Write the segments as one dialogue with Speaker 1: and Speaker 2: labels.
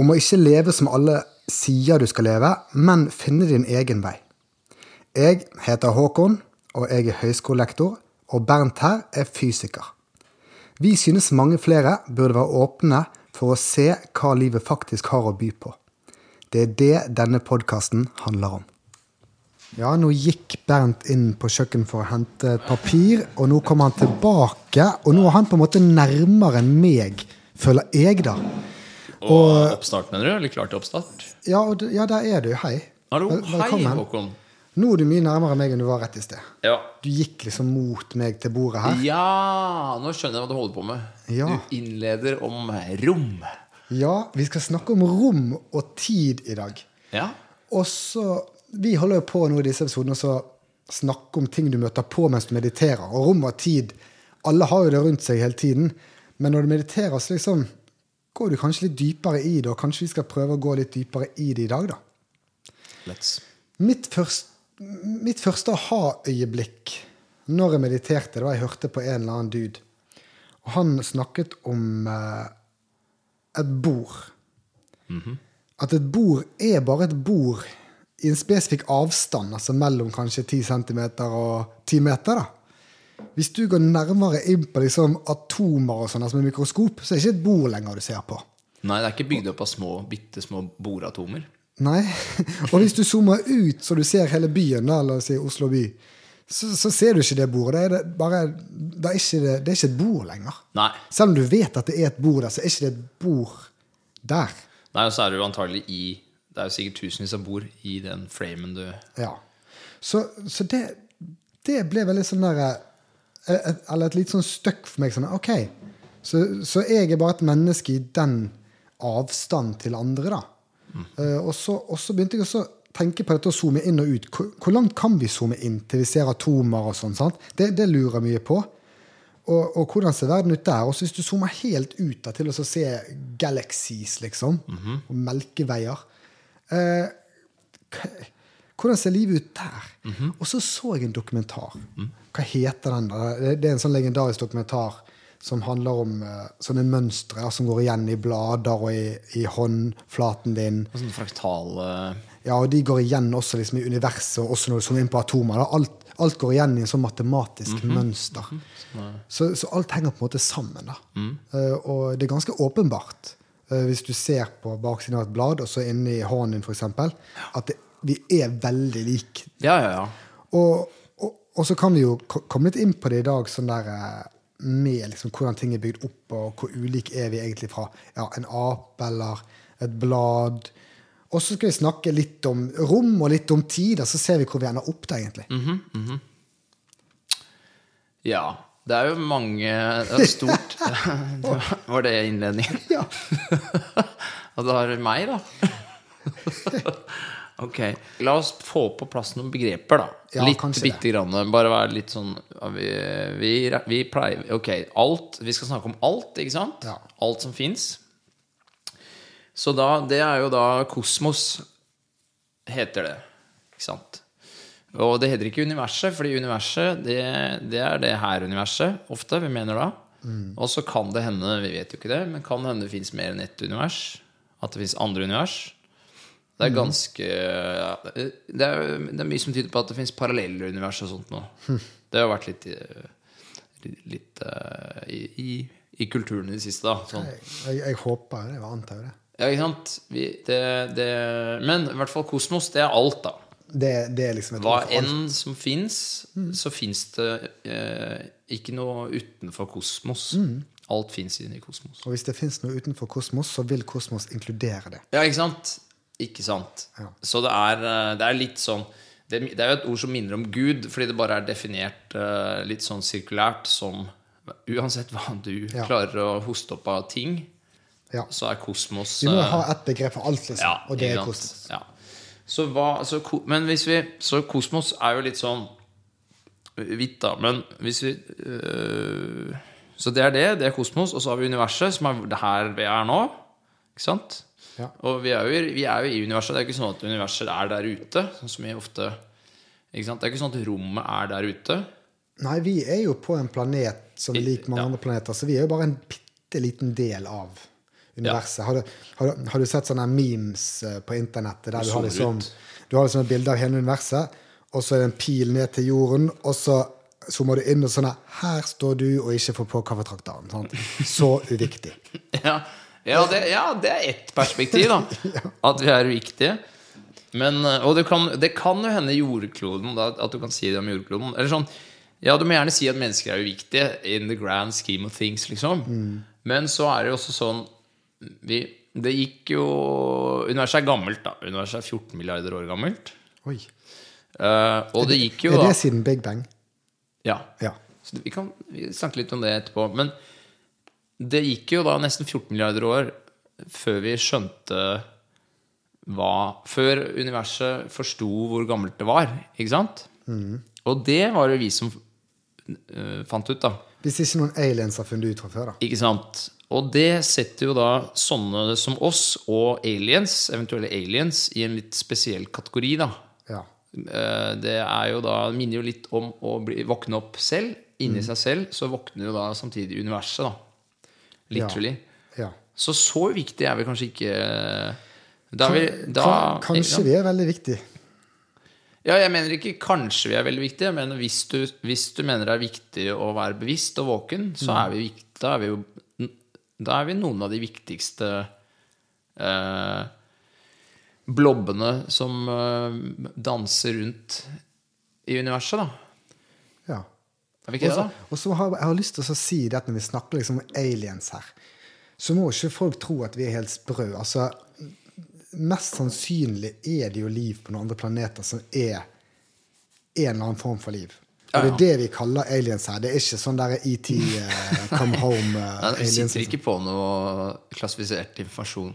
Speaker 1: Om å ikke leve som alle sier du skal leve, men finne din egen vei. Jeg heter Håkon, og jeg er høyskolelektor, og Bernt her er fysiker. Vi synes mange flere burde være åpne for å se hva livet faktisk har å by på. Det er det denne podkasten handler om. Ja, nå gikk Bernt inn på kjøkkenet for å hente et papir, og nå kommer han tilbake. Og nå er han på en måte nærmere enn meg, føler jeg, da.
Speaker 2: Og oppstart, mener du? Eller klar til oppstart?
Speaker 1: Ja, og d- ja der er du. Hei.
Speaker 2: Hallo,
Speaker 1: Vel-
Speaker 2: hei Håkon.
Speaker 1: Nå er du mye nærmere meg enn du var rett i sted.
Speaker 2: Ja.
Speaker 1: Du gikk liksom mot meg til bordet her.
Speaker 2: ja, nå skjønner jeg hva du holder på med.
Speaker 1: Ja.
Speaker 2: Du innleder om rom.
Speaker 1: Ja, vi skal snakke om rom og tid i dag.
Speaker 2: Ja.
Speaker 1: Og så Vi holder jo på nå i disse episodene å snakke om ting du møter på mens du mediterer. Og rom og tid. Alle har jo det rundt seg hele tiden. Men når du mediterer, så liksom går du kanskje litt dypere i det. Og kanskje vi skal prøve å gå litt dypere i det i dag, da.
Speaker 2: Let's.
Speaker 1: Mitt, først, mitt første aha-øyeblikk når jeg mediterte, det var jeg hørte på en eller annen dude. Og han snakket om eh, et bord. At et bord er bare et bord i en spesifikk avstand, altså mellom kanskje 10 cm og 10 meter. da. Hvis du går nærmere inn på liksom atomer og sånn, altså med mikroskop, så er det ikke et bord lenger du ser på.
Speaker 2: Nei, det er ikke bygd opp av små, bitte små boratomer.
Speaker 1: Nei. Og hvis du zoomer ut, så du ser hele byen, da, la oss si Oslo by, så, så ser du ikke det bordet. Det er, det bare, det, er ikke, det, det er ikke et bord lenger.
Speaker 2: Nei.
Speaker 1: Selv om du vet at det er et bord der, så er ikke det et bord der.
Speaker 2: Nei, og så er det jo antagelig i Det er jo sikkert tusenvis som bor i den framen du
Speaker 1: Ja. Så, så det, det ble veldig sånn der eh, et- Eller et litt sånn støkk for meg. Sånn, ok, så, så jeg er bare et menneske i den avstand til andre, da. Eh, og, så, og så begynte jeg også å tenke på dette å zoome inn og ut. Hvor, hvor langt kan vi zoome inn til vi ser atomer og sånn? sant? Det, det lurer jeg mye på. Og, og hvordan ser verden ut der? Og så hvis du zoomer helt ut da, til å så se galaxies, liksom, og melkeveier eh, k- hvordan ser livet ut der? Og så så jeg en dokumentar. Hva heter den? da? Det- Det er en sånn legendarisk dokumentar som handler om eh, sånne mønstre som går igjen i blader og i, i håndflaten din.
Speaker 2: Og Sånn fraktal eh,
Speaker 1: Ja, og de går igjen også liksom, i universet, og også når du zoomer inn på atomer. Da. Alt, alt går igjen i en sånn matematisk mønster. så, så alt henger på en måte sammen. Da. Eh, og det er ganske åpenbart, eh, hvis du ser på baksiden av et blad, og så inne i hånden din, f.eks., at det, vi er veldig like.
Speaker 2: Ja, ja, ja.
Speaker 1: Og, og, og så kan vi jo ko- komme litt inn på det i dag, sånn der eh, med liksom, hvordan ting er bygd opp, og hvor ulik er vi egentlig fra ja, en ape eller et blad. Og så skal vi snakke litt om rom og litt om tid, og så ser vi hvor vi ender opp da, egentlig.
Speaker 2: Mm. Ja. Det er jo mange Det er stort Var det innledningen?
Speaker 1: Ja.
Speaker 2: Og da er det meg, da. ok. La oss få på plass noen begreper, da.
Speaker 1: Ja,
Speaker 2: litt
Speaker 1: kanskje det.
Speaker 2: bitte grann. Bare være litt sånn ja, vi, vi, vi pleier Ok, alt. Vi skal snakke om alt, ikke sant?
Speaker 1: Ja.
Speaker 2: Alt som fins. Så da Det er jo da kosmos, heter det. Ikke sant? Og det heter ikke universet, fordi universet, det, det er det her universet ofte, vi mener da. Og så kan det hende, vi vet jo ikke det, men kan det hende det fins mer enn ett univers. At det fins andre univers. Det er ganske ja, det, er, det er mye som tyder på at det fins parallelle univers og sånt nå. Det har vært litt, i- litt eh, i, i, i kulturen i det siste, da. Sånn.
Speaker 1: Jeg, jeg, jeg håper det, jeg antar jo det.
Speaker 2: Ja, ikke sant? Vi, det, det, men i hvert fall kosmos, det er alt, da.
Speaker 1: det. Det er liksom et
Speaker 2: Hva
Speaker 1: ord for alt.
Speaker 2: enn som fins, så fins det eh, ikke noe utenfor kosmos. Alt fins inni kosmos.
Speaker 1: Og hvis det finnes noe utenfor kosmos, så vil kosmos inkludere det.
Speaker 2: Ja, ikke sant? Ikke sant?
Speaker 1: Ja.
Speaker 2: Så det er, eh, det er litt sånn det, det er jo et ord som minner om Gud, fordi det bare er definert eh, litt sånn sirkulært som Uansett hva du
Speaker 1: Ja.
Speaker 2: klarer å hoste opp av ting,
Speaker 1: Ja.
Speaker 2: så er kosmos
Speaker 1: Vi må
Speaker 2: eh,
Speaker 1: ha ett begrep for alt, liksom. og det er
Speaker 2: ikke sant?
Speaker 1: kosmos.
Speaker 2: Ja. Så hva, så, ko- men hvis vi Så kosmos er jo litt sånn hvitt, da. Men hvis vi øh, Så det er det. Det er kosmos. Og så har vi universet, som er det her vi er nå. Ikke sant?
Speaker 1: Ja.
Speaker 2: Og vi er, jo, i- vi er jo i universet. Det er ikke sånn at universet er der ute. Sånn som vi ofte ikke sant? Det er ikke sånn at rommet er der ute.
Speaker 1: Nei, vi er jo på en planet som er lik mange
Speaker 2: Ja.
Speaker 1: andre planeter, så vi er jo bare en bitte liten del av universet. Har, du, har, du, har du sett sånne memes eh, på internettet der du har,
Speaker 2: zoomer
Speaker 1: liksom,
Speaker 2: ut.
Speaker 1: du har liksom et bilde av hele universet, og så er det en pil ned til jorden, og så zoomer du inn og sånn her, Her står du og ikke får på kaffetrakteren. Sant? Så uviktig.
Speaker 2: Ja, ja, det, ja, det er ett perspektiv, da. At vi er uviktige. Men, eh, og det kan, det kan jo hende jordkloden da, At du kan si det om jordkloden. Eller sånn Ja, du må gjerne si at mennesker er uviktige in the grand scheme of things, liksom.
Speaker 1: Mm.
Speaker 2: Men så er det jo også sånn vi, Det gikk jo Universet er gammelt, da. Universet er 14 milliarder år gammelt.
Speaker 1: Oi.
Speaker 2: Eh, og det gikk jo,
Speaker 1: Er
Speaker 2: da
Speaker 1: det siden Big Bang?
Speaker 2: Ja.
Speaker 1: Ja.
Speaker 2: Så det- vi kan vi snakke litt om det etterpå. Men det gikk jo da nesten 14 milliarder år før vi skjønte hva Før universet forsto hvor gammelt det var. Ikke sant? Og det var det vi som eh, fant ut, da.
Speaker 1: Hvis ikke noen aliens har funnet det ut fra før, da.
Speaker 2: Ikke sant? Og det setter jo da sånne som oss og aliens, eventuelle aliens, i en litt spesiell kategori, da.
Speaker 1: Ja.
Speaker 2: Eh, Det er jo da, minner jo litt om å bli, våkne opp selv.
Speaker 1: Mm.
Speaker 2: Inni seg selv så våkner jo da samtidig universet, da. Literally.
Speaker 1: ja.
Speaker 2: Så så viktig er vi kanskje ikke eh, da er vi, da,
Speaker 1: Kan- Kanskje vi er veldig viktige.
Speaker 2: Ja, jeg mener ikke kanskje vi er veldig viktige, men hvis du, hvis du mener det er viktig å være bevisst og våken,
Speaker 1: Mm.
Speaker 2: så er vi, vikt- da er vi jo Da er vi noen av de viktigste eh, blobbene som eh, danser rundt i universet, da.
Speaker 1: Ja.
Speaker 2: Er vi ikke det,
Speaker 1: Også-
Speaker 2: da?
Speaker 1: Og så har jeg har lyst til å si det at når vi snakker liksom om aliens her, så må ikke folk tro at vi er helt sprø. Altså, mest sannsynlig er det jo liv på noen andre planeter som er en eller annen form for liv. Og det er det vi kaller aliens her. Det er ikke sånn der ET, eh, liksom. come
Speaker 2: Nei, Vi
Speaker 1: home-aliens.
Speaker 2: sitter ikke på noe klassifisert informasjon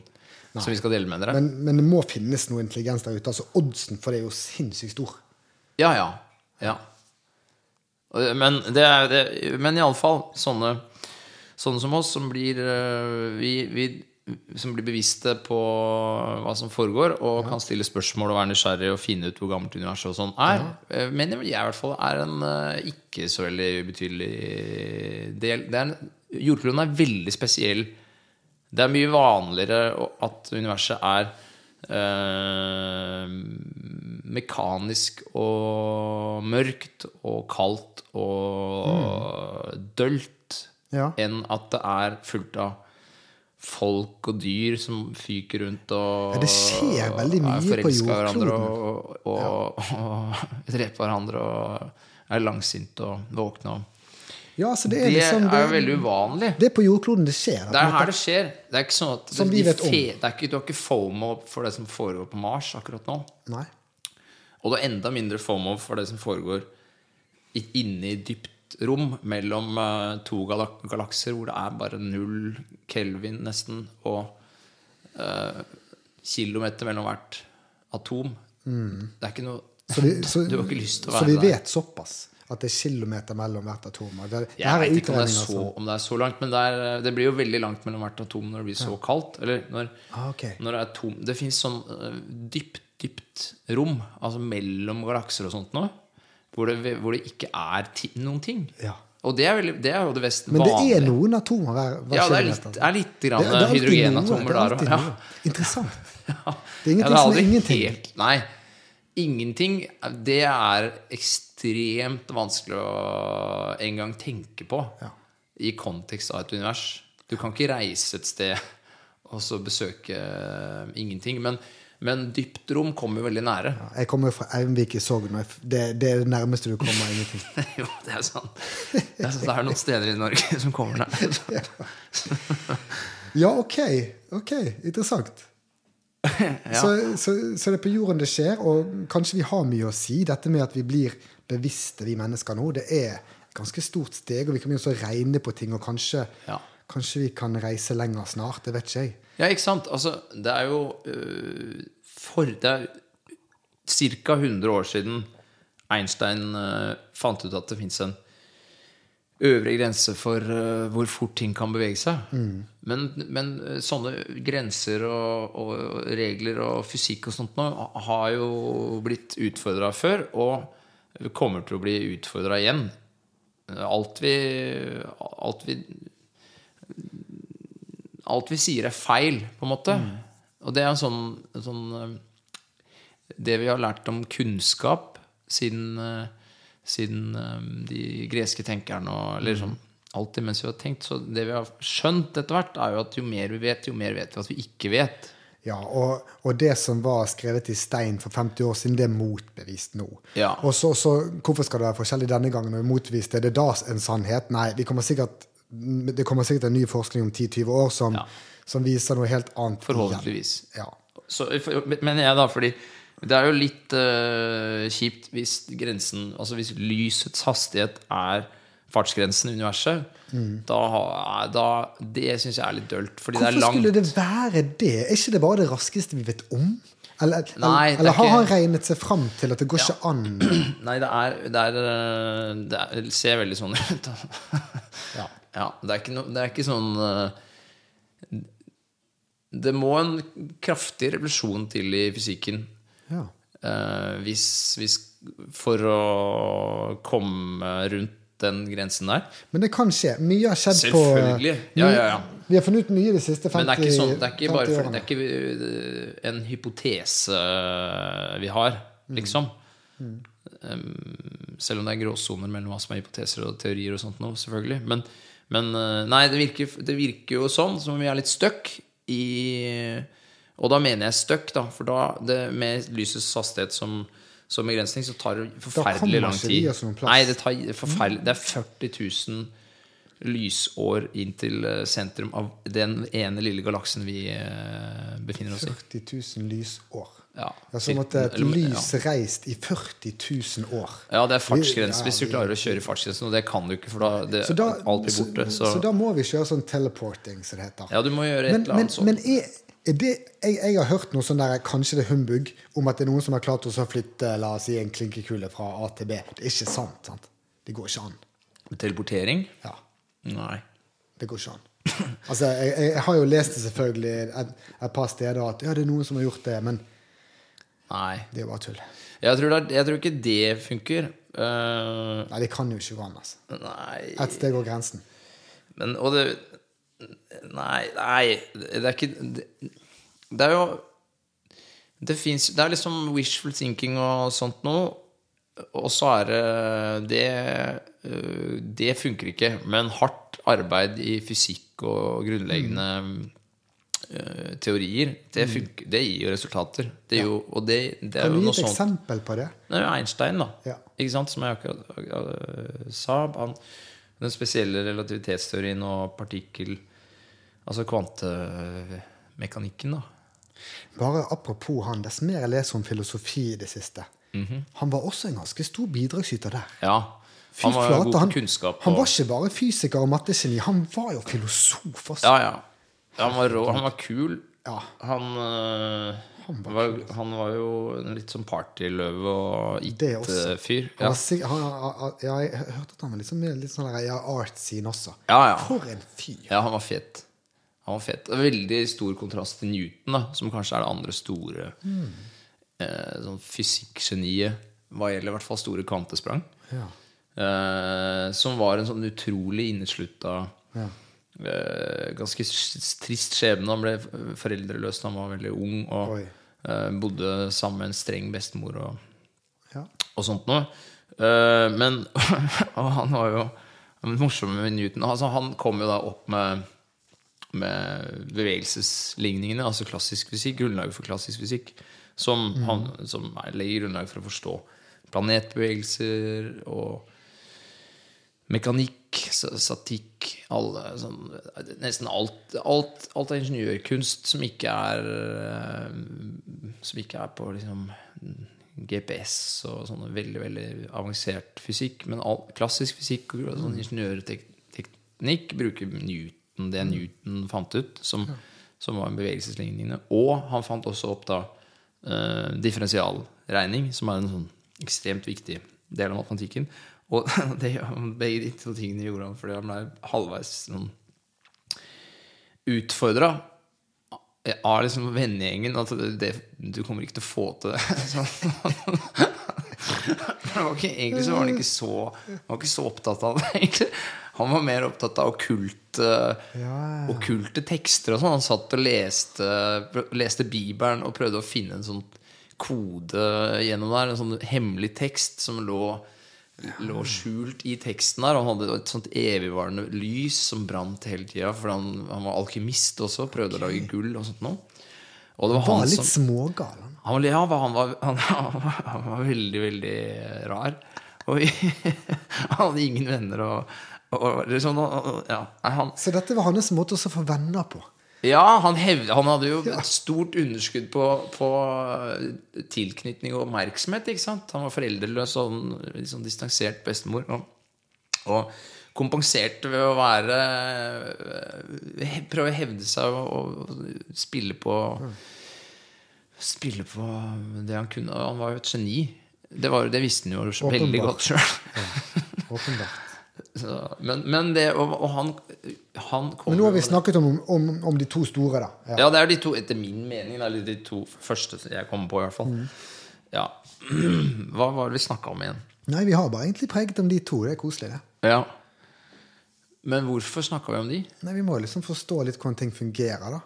Speaker 2: som vi skal dele med dere.
Speaker 1: men, men det må finnes noe intelligens der ute. Altså, oddsen for det er jo sinnssykt stor.
Speaker 2: Ja, ja. ja. Og det- Men, det er, det, men i alle fall sånne, sånne som oss som blir, øh, vi, vi, som blir bevisste på hva som foregår, og kan stille spørsmål og være nysgjerrig og finne ut hvor gammelt universet og sånn er, øh, mener jeg i hvert fall er en øh, ikke så veldig ubetydelig del. Det er en, jordkloden er veldig spesiell. Det er mye vanligere å- at universet er eh, mekanisk og mørkt og kaldt og dølt
Speaker 1: Mm. Ja.
Speaker 2: enn at det er fullt av folk og dyr som fyker rundt og
Speaker 1: Ja, det skjer veldig mye på
Speaker 2: er forelska i
Speaker 1: jordkloden.
Speaker 2: hverandre og, og, og dreper hverandre og er langsinte og våkne. og-
Speaker 1: Ja, altså, det
Speaker 2: Det
Speaker 1: er liksom
Speaker 2: er jo
Speaker 1: det,
Speaker 2: veldig uvanlig.
Speaker 1: det er på jordkloden det skjer.
Speaker 2: Det er her det skjer. Det er ikke sånn at
Speaker 1: Som vi
Speaker 2: de
Speaker 1: vet om.
Speaker 2: fe- det er ikke, Du har ikke fomo for det som foregår på Mars akkurat nå.
Speaker 1: Nei.
Speaker 2: Og du har enda mindre fomo for det som foregår i- inne i dypt rom mellom eh, to galak galakser hvor det er bare null kelvin nesten, og eh, kilometer mellom hvert atom.
Speaker 1: Mm.
Speaker 2: Det er ikke noe
Speaker 1: Så vi, så,
Speaker 2: Du har ikke lyst til å
Speaker 1: så
Speaker 2: være
Speaker 1: vi
Speaker 2: der.
Speaker 1: vet såpass at det er kilometer mellom hvert atom. og Det, det
Speaker 2: Jeg
Speaker 1: her er altså.
Speaker 2: vet ikke om det, er
Speaker 1: utregninger
Speaker 2: så,
Speaker 1: som
Speaker 2: om det er så langt, men det, er, det blir jo veldig langt mellom hvert atom når det blir så kaldt. Eller når,
Speaker 1: Ah, ok.
Speaker 2: når det er tom Det fins sånn øh, dypt, dypt rom, altså mellom galakser og sånt nå, hvor det, hvor det ikke er ti, noen ting.
Speaker 1: Ja.
Speaker 2: Og det er, veldig, det er jo det best
Speaker 1: Men det
Speaker 2: vanlige.
Speaker 1: er noen atomer hver, hver
Speaker 2: ja, det er
Speaker 1: kilometer.
Speaker 2: litt, er litt
Speaker 1: Det-
Speaker 2: grann
Speaker 1: det er alltid noe, det
Speaker 2: hydrogenatomer
Speaker 1: er
Speaker 2: der
Speaker 1: alltid
Speaker 2: òg.
Speaker 1: noe. Interessant. Det er
Speaker 2: Ja,
Speaker 1: ingenting
Speaker 2: det er
Speaker 1: som er
Speaker 2: aldri
Speaker 1: ingenting.
Speaker 2: Helt, nei. Ingenting. Det er ekstremt vanskelig å en gang tenke på
Speaker 1: Ja.
Speaker 2: i kontekst av et univers. Du kan ikke reise et sted og så besøke eh, ingenting. Men, men dypt rom kommer veldig nære.
Speaker 1: Jeg kommer fra Eimvik i Sogn, og jeg f- det, det er det nærmeste du kommer ingenting.
Speaker 2: jo, det er sant. Det er, sant, det er noen steder i Norge som kommer nær.
Speaker 1: Ja, ok. ok, Interessant. Så, så, så det er på jorden det skjer, og kanskje vi har mye å si. Dette med at vi blir bevisste, vi mennesker nå, det er et ganske stort steg, og vi kan begynne å regne på ting og kanskje,
Speaker 2: Ja.
Speaker 1: Kanskje vi kan reise lenger snart? Det vet ikke jeg.
Speaker 2: Ja, ikke sant? Altså, det er jo øh, for, Det er ca. 100 år siden Einstein øh, fant ut at det fins en øvre grense for øh, hvor fort ting kan bevege seg. Men, men øh, sånne grenser og, og regler og fysikk og sånt nå har jo blitt utfordra før, og kommer til å bli utfordra igjen. Eh, Alt vi, alt vi alt vi sier er feil, på en måte. Og det er en sånn, en sånn eh, Det vi har lært om kunnskap siden, eh, siden eh, de greske tenkerne og eller sånn, Alltid mens vi har tenkt. Så det vi har skjønt etter hvert, er jo at jo mer vi vet, jo mer vet vi at vi ikke vet.
Speaker 1: Ja, og, og det som var skrevet i stein for 50 år siden, det er motbevist nå.
Speaker 2: Ja.
Speaker 1: Og så, så hvorfor skal det være forskjellig denne gangen? når det er motbevist? Er det da en sannhet? Nei, vi kommer sikkert, det kommer sikkert en ny forskning om 10-20 år som,
Speaker 2: Ja.
Speaker 1: som viser noe helt annet. igjen.
Speaker 2: Forhåpentligvis.
Speaker 1: Ja.
Speaker 2: Så, eh, for- men jeg, da, fordi det er jo litt eh, kjipt hvis grensen Altså hvis lysets hastighet er fartsgrensen i universet, da, har- da Det syns jeg er litt dølt. Fordi det er
Speaker 1: Mm. Hvorfor
Speaker 2: langt.
Speaker 1: skulle det være det? Er ikke det bare det raskeste vi vet om? Eller, eller-
Speaker 2: Nei, det er
Speaker 1: eller har
Speaker 2: ikke-
Speaker 1: han regnet seg fram til at det går ikke an?
Speaker 2: Nei, det er Det, er, eh, det, er, det ser veldig sånn ut.
Speaker 1: Ja.
Speaker 2: ja. Det er ikke, no, det er ikke sånn eh, Det må en kraftig revolusjon til i fysikken
Speaker 1: Ja.
Speaker 2: Eh, hvis, hvis, for å komme rundt den grensen der.
Speaker 1: Men det kan skje. Mye har skjedd på
Speaker 2: Selvfølgelig. Ja, ja, ja.
Speaker 1: Vi har funnet ut mye de siste 50
Speaker 2: Men det er ikke, sånn, det er ikke, bare,
Speaker 1: 50
Speaker 2: for,
Speaker 1: årene.
Speaker 2: det er ikke eh, en hypotese eh, vi har, liksom. Um, selv om det er gråsoner mellom hva som er hypoteser og teorier og sånt nå, selvfølgelig. Men, men eh, nei, det virker, det virker jo sånn, som om vi er litt stuck i Og da mener jeg stuck, da. For da, det, med lysets hastighet som, som begrensning, så tar det forferdelig
Speaker 1: kommer
Speaker 2: lang
Speaker 1: ikke vi
Speaker 2: tid.
Speaker 1: oss noen plass.
Speaker 2: Nei, det, tar, forferdelig- det er 40 000 lysår inn til eh, sentrum av den ene lille galaksen vi eh, befinner oss i.
Speaker 1: 40 000 lysår.
Speaker 2: Ja,
Speaker 1: Det er som at et
Speaker 2: Eller- ja.
Speaker 1: lys reist i 40 000 år.
Speaker 2: Ja, det er fartsgrense
Speaker 1: Ja,
Speaker 2: hvis du
Speaker 1: vi-
Speaker 2: klarer å kjøre i fartsgrensen, og det kan du ikke, for da, det,
Speaker 1: Så da,
Speaker 2: alt blir borte.
Speaker 1: så,
Speaker 2: Så,
Speaker 1: så da må vi kjøre sånn teleporting, som det heter.
Speaker 2: ja, du må gjøre et
Speaker 1: men
Speaker 2: eller
Speaker 1: men,
Speaker 2: annet sånt.
Speaker 1: men er, er det, jeg, jeg har hørt noe sånn der Kanskje det er humbug om at det er noen som har klart å så flytte la oss si, en klinkekule fra A til B. Det er ikke sant. sant? Det går ikke an.
Speaker 2: Teleportering?
Speaker 1: Ja,
Speaker 2: Nei.
Speaker 1: det går ikke an. Altså, jeg, jeg, jeg har jo lest det selvfølgelig et, et par steder at ja, det er noen som har gjort det, men
Speaker 2: Nei.
Speaker 1: det er jo bare tull.
Speaker 2: Jeg tror, det er, jeg tror ikke det funker. Eh,
Speaker 1: Nei, det kan jo ikke gå an. altså.
Speaker 2: nei
Speaker 1: Et sted går grensen.
Speaker 2: Men, og det Nei, nei det er ikke Det, det er jo Det fins Det er liksom wishful thinking og sånt noe. Og så er det det øh, Det funker ikke. Men hardt arbeid i fysikk og grunnleggende
Speaker 1: Mm.
Speaker 2: øh, teorier, det, funker, det gir jo resultater. Det er jo, og det, det er
Speaker 1: Kan
Speaker 2: jo
Speaker 1: du gi
Speaker 2: noe
Speaker 1: et
Speaker 2: sånt
Speaker 1: eksempel på det?
Speaker 2: det er jo Einstein, da.
Speaker 1: Ja.
Speaker 2: Ikke sant? Som jeg akkurat øh, sa. Han, den spesielle relativitetsteorien og partikkel Altså kvantemekanikken, da.
Speaker 1: Bare apropos han, dess mer jeg leser om filosofi i det siste.
Speaker 2: Mhm.
Speaker 1: Han var også en ganske stor bidragsyter der.
Speaker 2: Ja.
Speaker 1: Fy
Speaker 2: Han var jo
Speaker 1: flate,
Speaker 2: god på
Speaker 1: han-
Speaker 2: kunnskap.
Speaker 1: Han
Speaker 2: og-
Speaker 1: var ikke bare fysiker og mattegeni, han var jo filosof også.
Speaker 2: Ja, ja. Han var rå, han var kul.
Speaker 1: Ja.
Speaker 2: Han, øh,
Speaker 1: Han var altså.
Speaker 2: var, han var jo en litt sånn partyløve og
Speaker 1: Det også.
Speaker 2: it-fyr.
Speaker 1: Han
Speaker 2: Ja.
Speaker 1: var sikk- han, han, han, ja, jeg hørte at han var litt sånn, litt sånn der, ja, artscene også.
Speaker 2: Ja, ja.
Speaker 1: For en fyr!
Speaker 2: ja, han var fet. Han var fet. Og Veldig stor kontrast til Newton, da, som kanskje er det andre store eh, sånn fysikkgeniet hva gjelder i hvert fall store kvantesprang.
Speaker 1: Ja.
Speaker 2: Eh, som var en sånn utrolig inneslutta
Speaker 1: Ja.
Speaker 2: eh, Ganske s- trist skjebne. Han ble f- foreldreløs da han var veldig ung, og
Speaker 1: Oi.
Speaker 2: eh, bodde sammen med en streng bestemor. og
Speaker 1: Ja.
Speaker 2: og sånt noe. Eh, men og han var jo men morsom med Newton. Altså, han kom jo da opp med, med bevegelsesligningene, altså klassisk fysikk, grunnlaget for klassisk fysikk, som, han, som er- legger grunnlaget for å forstå planetbevegelser og mekanikk, sa- statikk alle, sånn, Nesten alt, alt, alt av ingeniørkunst som ikke er eh, Som ikke er på liksom, GPS og sånn veldig veldig avansert fysikk. Men all, klassisk fysikk og sånn ingeniørteknikk bruker Newton Newton, det Newton fant ut, som, som var en bevegelseslignende. Og han fant også opp da eh, differensialregning, som er en sånn ekstremt viktig del av matematikken. Og det, begge de to tingene gjorde han fordi han ble halvveis sånn utfordra av liksom vennegjengen at det, det, du kommer ikke til å få til det. Sånn. Det var ikke, egentlig så var han ikke så, han var ikke så opptatt av det. egentlig. Han var mer opptatt av okkult, eh,
Speaker 1: Ja,
Speaker 2: okkulte tekster og sånn. Han satt og leste, leste Bibelen og prøvde å finne en sånn kode gjennom der. En sånn hemmelig tekst som lå, lå skjult i teksten der. Og han hadde et sånt evigvarende lys som brant hele tida, for han, han var alkymist også. Prøvde å lage gull og sånt noe. Og det var
Speaker 1: Han
Speaker 2: han
Speaker 1: var
Speaker 2: som
Speaker 1: litt smågal. han.
Speaker 2: han var, ja, han var, han, han, var, han var veldig, veldig rar. Og han hadde ingen venner og, og liksom, ja, nei, han,
Speaker 1: Så dette var hans måte også å få venner på.
Speaker 2: ja, han, hevde, han hadde jo et stort underskudd på, på eh, tilknytning og oppmerksomhet. ikke sant? Han var foreldreløs og en litt sånn distansert bestemor. Og, og kompenserte ved å være eh, Prøve å hevde seg og, og spille på Spille på det han kunne. Han var jo et geni. Det, var, jo- det visste han jo veldig
Speaker 1: Åpenbart.
Speaker 2: godt sjøl.
Speaker 1: Åpenbart.
Speaker 2: Men, men det Og, og han, han kom
Speaker 1: Men nå har
Speaker 2: jo-
Speaker 1: vi snakket om, om, om de to store, da. Ja.
Speaker 2: ja, det er de to, etter min mening, det er de to første som jeg kommer på, i hvert fall. Ja. Hva var det vi snakka om igjen?
Speaker 1: Nei, vi har bare egentlig preget om de to. Det er koselig, det.
Speaker 2: Ja. Men hvorfor snakka vi om de?
Speaker 1: Nei, Vi må jo liksom forstå litt hvordan ting fungerer. da.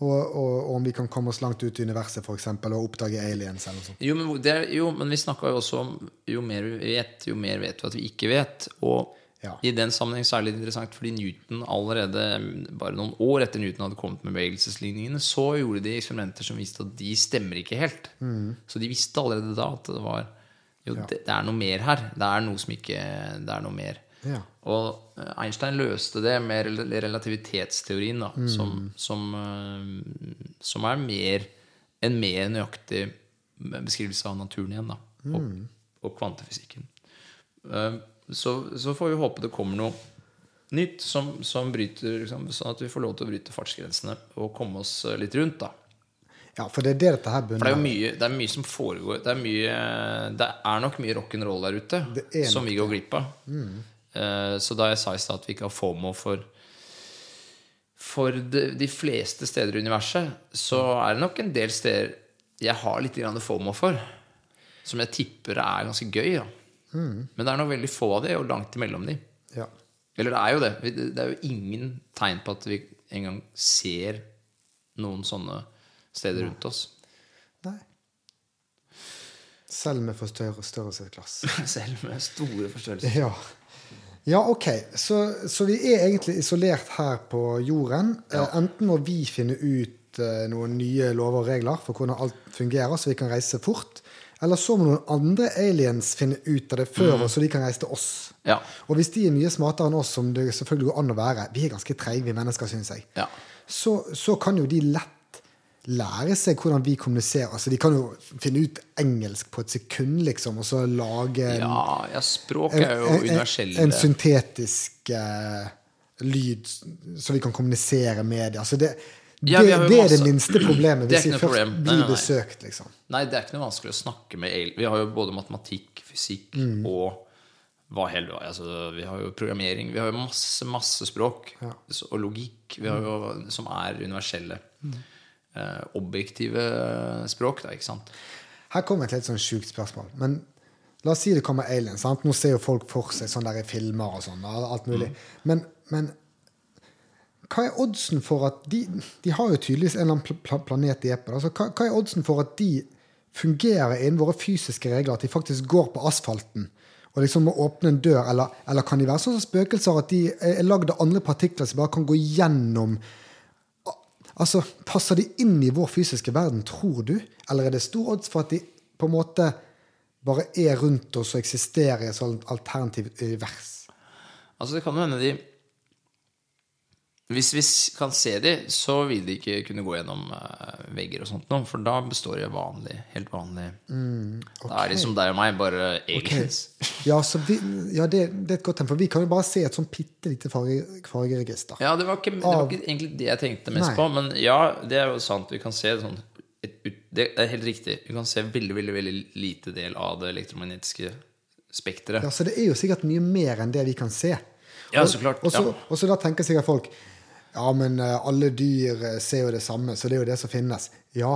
Speaker 1: Og, og, og om vi kan komme oss langt ut i universet for eksempel, og oppdage aliens. eller noe sånt.
Speaker 2: Jo, men, hvor- det er, jo, men vi snakka jo også om jo mer vi vet, jo mer vet vi at vi ikke vet. Og
Speaker 1: Ja.
Speaker 2: i den sammenheng så er det litt interessant, fordi Newton allerede mm, bare noen år etter Newton hadde kommet med bevegelsesligningene, så gjorde de eksperimenter som viste at de stemmer ikke helt. Så de visste allerede da at det var Jo, det, det er noe mer her. Det er noe som ikke Det er noe mer.
Speaker 1: Ja.
Speaker 2: Og eh, Einstein løste det med rel- relativitetsteorien, da, som, som, eh, som er mer, en mer nøyaktig eh, beskrivelse av naturen igjen, da, og, og kvantefysikken. Eh, Så, så får vi håpe det kommer noe nytt som, som bryter, liksom, sånn at vi får lov til å bryte fartsgrensene og komme oss eh, litt rundt. da.
Speaker 1: Ja, For det er det dette her
Speaker 2: For det
Speaker 1: bunner
Speaker 2: er jo
Speaker 1: i.
Speaker 2: mye, det er mye som foregår. Det er, mye, det er nok mye rock'n'roll der ute
Speaker 1: Det Mm. er
Speaker 2: som vi går glipp av. Eh, så da jeg sa i stad at vi ikke har FOMO for for de, de fleste steder i universet, så er det nok en del steder jeg har litt grann FOMO for. Som jeg tipper er ganske gøy. Da.
Speaker 1: Mm.
Speaker 2: Men det er nok veldig få av de, og langt imellom de.
Speaker 1: Ja.
Speaker 2: Eller det er jo det. Vi- Det det er jo ingen tegn på at vi engang ser noen sånne steder rundt oss.
Speaker 1: Nei. Selv med forstørrelsesglass.
Speaker 2: Selv med store forstørrelser.
Speaker 1: Ja. ja, ok. Så, så vi er egentlig isolert her på jorden. Eh, Enten må vi finne ut eh, noen nye lover og regler for hvordan alt fungerer, så vi kan reise fort. Eller så må noen andre aliens finne ut av det før oss, så de kan reise til oss.
Speaker 2: Mm. Ja.
Speaker 1: Og hvis de er mye smartere enn oss, som det selvfølgelig går an å være Vi er ganske treige, vi mennesker, syns jeg.
Speaker 2: Ja.
Speaker 1: Så, så kan jo de lett lære seg hvordan vi kommuniserer. Altså, de kan jo finne ut engelsk på et sekund, liksom, og så lage en
Speaker 2: ja, ja, språk er jo
Speaker 1: en- en-
Speaker 2: universelle.
Speaker 1: En syntetisk eh, lyd som vi kan kommunisere med. Altså det, det,
Speaker 2: Ja, vi har jo
Speaker 1: det er det
Speaker 2: masse-
Speaker 1: minste problemet.
Speaker 2: Det er
Speaker 1: Hvis vi først
Speaker 2: ikke noe problem. Nei,
Speaker 1: blir
Speaker 2: nei, nei.
Speaker 1: besøkt, liksom.
Speaker 2: Nei, det er ikke noe vanskelig å snakke med al- Vi har jo både matematikk, fysikk
Speaker 1: Mm.
Speaker 2: og hva heller altså, Vi har jo programmering. Vi har jo masse, masse språk s- og logikk vi har jo,
Speaker 1: Mm.
Speaker 2: som er universelle. Eh, objektive språk, da, ikke sant?
Speaker 1: Her kommer et helt sånn sjukt spørsmål. Men la oss si det kommer aliens. Sant? Nå ser jo folk for seg sånn der i filmer og sånn. og Alt mulig. Men, men hva er oddsen for at de De har jo tydeligvis en eller annen pla- pla- planet de er på. da. Så hva, hva er oddsen for at de fungerer innen våre fysiske regler? At de faktisk går på asfalten og liksom må åpne en dør? Eller, eller kan de være sånne spøkelser at de er er lagd av andre partikler som bare kan gå gjennom Altså, Passer de inn i vår fysiske verden, tror du? Eller er det stor odds for at de på en måte bare er rundt oss og eksisterer i et sånt alternativt univers?
Speaker 2: Altså, det kan jo hende de Hvis vi s- kan se de, så vil de ikke kunne gå gjennom eh, vegger og sånt noe, for da består de av vanlig, helt vanlig Da er de som deg og meg, bare aliens.
Speaker 1: Ja, så vi, ja det, det er et godt tegn, for vi kan jo bare se et sånn bitte lite farge, fargeregister.
Speaker 2: Ja, det var, ikke, det var ikke egentlig det jeg tenkte mest
Speaker 1: Nei.
Speaker 2: på, men ja, det er jo sant. Vi kan se sånn et, ut- Det er helt riktig. Vi kan se veldig, veldig, veldig lite del av det elektromagnetiske spekteret.
Speaker 1: Ja, Så det er jo sikkert mye mer enn det vi kan se.
Speaker 2: Ja,
Speaker 1: Og-
Speaker 2: så klart,
Speaker 1: Og så,
Speaker 2: ja.
Speaker 1: og så da tenker sikkert folk ja, men eh, alle dyr eh, ser jo det samme, så det er jo det som finnes. Ja,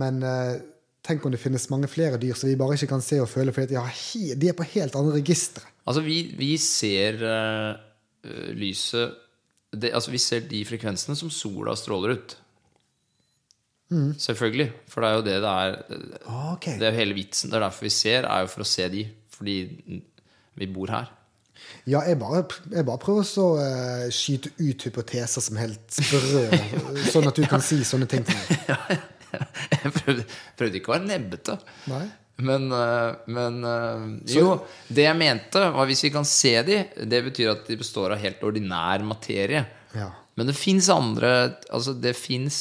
Speaker 1: men eh, tenk om det finnes mange flere dyr som vi bare ikke kan se og føle, fordi at de, har he, de er på helt andre registre.
Speaker 2: Altså, vi, vi ser eh, øh, lyset det, Altså, vi ser de frekvensene som sola stråler ut. Selvfølgelig. For det er jo det det er.
Speaker 1: Ok.
Speaker 2: Det er jo hele vitsen. Det er derfor vi ser, er jo for å se de. Fordi vi bor her.
Speaker 1: Ja, jeg bare, jeg bare prøver å eh, skyte ut hypoteser som helt sprø, sånn at du kan si sånne ting til meg.
Speaker 2: Jeg prøvde, prøvde ikke å være nebbete.
Speaker 1: Nei.
Speaker 2: Men, eh, men eh, Jo, det jeg mente, var hvis vi kan se de, det betyr at de består av helt ordinær materie.
Speaker 1: Ja.
Speaker 2: Men det fins andre Altså, det fins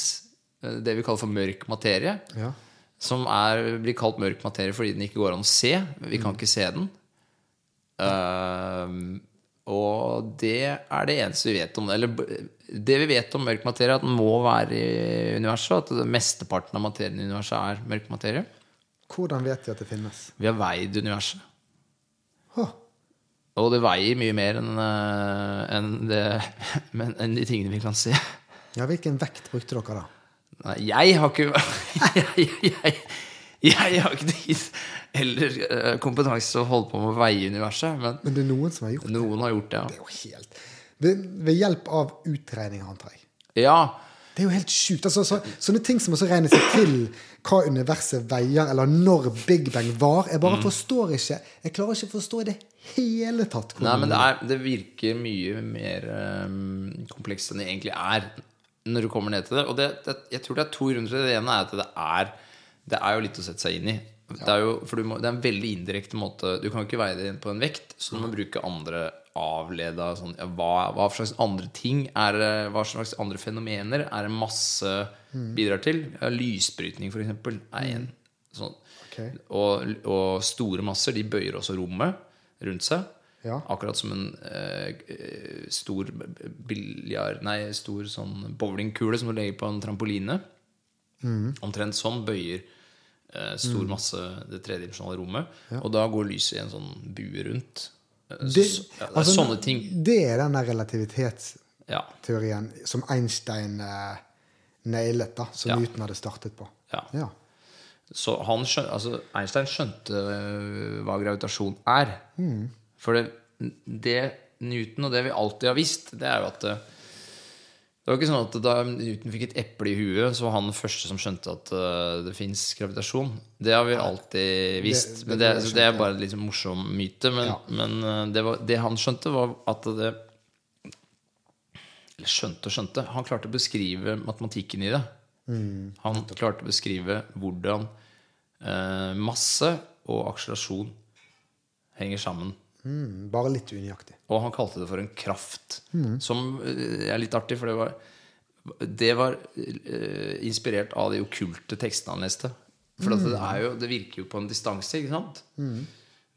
Speaker 2: det vi kaller for mørk materie.
Speaker 1: Ja.
Speaker 2: Som er, blir kalt mørk materie fordi den ikke går an å se. Vi kan ikke se den. Ehm, og det er det eneste vi vet om det. Eller b- det vi vet om mørk materie, er at den må være i universet. og At det- mesteparten av materien i universet er mørk materie.
Speaker 1: Hvordan vet de at det finnes?
Speaker 2: Vi har veid universet.
Speaker 1: Hå.
Speaker 2: Og det veier mye mer enn eh, enn det, men- enn de tingene vi kan se.
Speaker 1: Ja, Hvilken vekt brukte dere da?
Speaker 2: Nei, jeg har ikke jeg, jeg, jeg har ikke tid eller eh, kompetanse til å holde på med å veie universet, men
Speaker 1: Men det er noen som har gjort det.
Speaker 2: noen har gjort det.
Speaker 1: Det er jo helt Ved, ved hjelp av utregninger, antar jeg.
Speaker 2: Ja. ja.
Speaker 1: Det er jo helt sjukt. Altså, så, sånne ting som også regner seg til hva universet veier, eller når Big Bang var. Jeg
Speaker 2: Mm.
Speaker 1: bare forstår ikke. Jeg klarer ikke å forstå i det hele tatt.
Speaker 2: Nei, men det, er, det virker mye mer eh, komplekst enn det egentlig er. Når du kommer ned til det. Og det, det, jeg tror det er to grunner til det. Det ene er at det er, det er jo litt å sette seg inn i. Det er jo, for du må, det er en veldig indirekte måte. Du kan jo ikke veie det inn på en vekt, så du må bruke andre avleda sånn, ja, hva, hva for slags andre ting er det- Hva slags andre fenomener er det masse bidrar til? Ja, lysbrytning, for eksempel, er en sånn.
Speaker 1: Ok.
Speaker 2: Og, og store masser de bøyer også rommet rundt seg.
Speaker 1: Ja.
Speaker 2: Akkurat som en eh, eh, stor biljard Nei, stor sånn bowlingkule som du legger på en trampoline.
Speaker 1: Mhm.
Speaker 2: Omtrent sånn bøyer eh, stor masse det tredimensjonale rommet. Og da går lyset i en sånn bue rundt. Eh, så-
Speaker 1: Det-
Speaker 2: så- ja, det er
Speaker 1: altså,
Speaker 2: sånne ting.
Speaker 1: Det er den der relativitetsteorien
Speaker 2: Ja.
Speaker 1: som Einstein eh, nailet, da, som
Speaker 2: Ja.
Speaker 1: Newton hadde startet på.
Speaker 2: ja.
Speaker 1: Ja.
Speaker 2: Så han skjøn, altså Einstein skjønte øh, hva gravitasjon er.
Speaker 1: Mm.
Speaker 2: For det, det Newton og det vi alltid har visst, det er jo at øh, Det var ikke sånn at da Newton fikk et eple i huet, så var han den første som skjønte at øh, det fins gravitasjon. Det har vi alltid visst.
Speaker 1: det
Speaker 2: Men
Speaker 1: tror
Speaker 2: det,
Speaker 1: jeg
Speaker 2: så det er bare en litt sånn morsom myte. Men, men øh, det, var, det han skjønte, var at det eller skjønte og skjønte. Han klarte å beskrive matematikken i det. Han klarte å beskrive hvordan eh, masse og akselerasjon henger sammen.
Speaker 1: Mm, bare litt unøyaktig.
Speaker 2: Og han kalte det for en kraft. Som eh, er litt artig, for det var, det var eh, inspirert av de okkulte tekstene han leste. For at det, er jo, det virker jo på en distanse, ikke sant?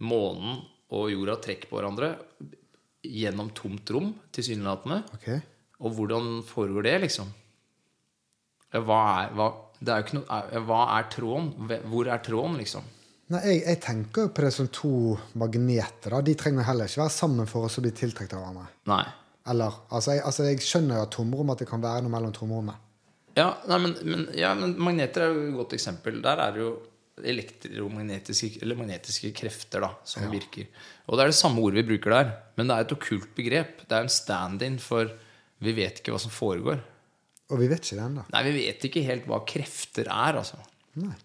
Speaker 2: Månen og jorda trekker på hverandre gjennom tomt rom, tilsynelatende.
Speaker 1: Ok?
Speaker 2: Og hvordan foregår det, liksom? Ja, Hva er, hva, det er jo ikke noe, er- hva er tråden? Hve- Hvor er tråden, liksom?
Speaker 1: Nei, jeg, jeg tenker jo på det som to magneter. da. De trenger heller ikke være sammen for å bli tiltrukket av hverandre.
Speaker 2: Nei.
Speaker 1: Eller, altså jeg, altså jeg skjønner jo at tomrom at det kan være noe mellom tomrommene.
Speaker 2: Ja, nei, men, men, ja, men magneter er jo et godt eksempel. Der er det jo elektromagnetiske eller magnetiske krefter da, som virker. Og det er det samme ordet vi bruker der. Men det er et okkult begrep. Det er en stand-in for vi vet ikke hva som foregår.
Speaker 1: Og vi vet ikke det ennå.
Speaker 2: Nei, vi vet ikke helt hva krefter er, altså.
Speaker 1: Nei.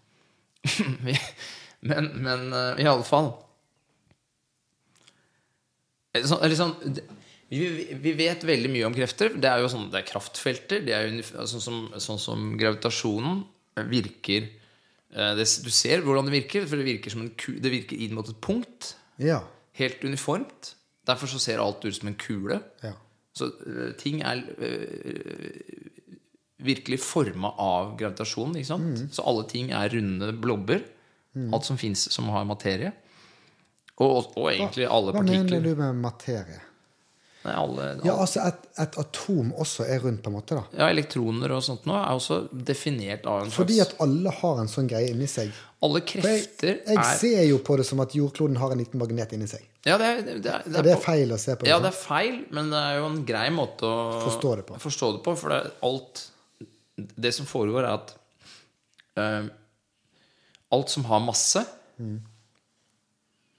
Speaker 2: Vi- men, men eh, i alle fall Eh, sånn- eller sånn, det- vi, vi vet veldig mye om krefter. Det er jo sånn, det er kraftfelter. Det er jo, unif- sånn, som, sånn som gravitasjonen virker eh, det, Du ser hvordan det virker, for det virker, som en ku, det virker inn mot et punkt.
Speaker 1: Ja.
Speaker 2: Helt uniformt. Derfor så ser alt ut som en kule.
Speaker 1: ja.
Speaker 2: Så øh, ting er øh, virkelig forma av gravitasjonen. Ikke sant?
Speaker 1: Mm.
Speaker 2: Så alle ting er runde blobber. Alt som fins som har materie. Og, og egentlig alle
Speaker 1: Hva mener
Speaker 2: partikler.
Speaker 1: du med materie?
Speaker 2: Nei, alle,
Speaker 1: Ja, altså et, et atom også er rundt, på en måte. da.
Speaker 2: Ja, elektroner og sånt nå er også definert av en
Speaker 1: Fordi
Speaker 2: slags
Speaker 1: at alle har en sånn greie inni seg.
Speaker 2: Alle
Speaker 1: For jeg,
Speaker 2: krefter
Speaker 1: jeg
Speaker 2: er
Speaker 1: ser jo på det som at jordkloden har en liten magnet inni seg.
Speaker 2: Ja, det er, det er, det er,
Speaker 1: Er det feil å se på? det
Speaker 2: ja,
Speaker 1: sånn?
Speaker 2: det er feil, men det er jo en grei måte å
Speaker 1: Forstå det på.
Speaker 2: forstå det på, for det er alt Det som foregår, er at eh, alt som har masse,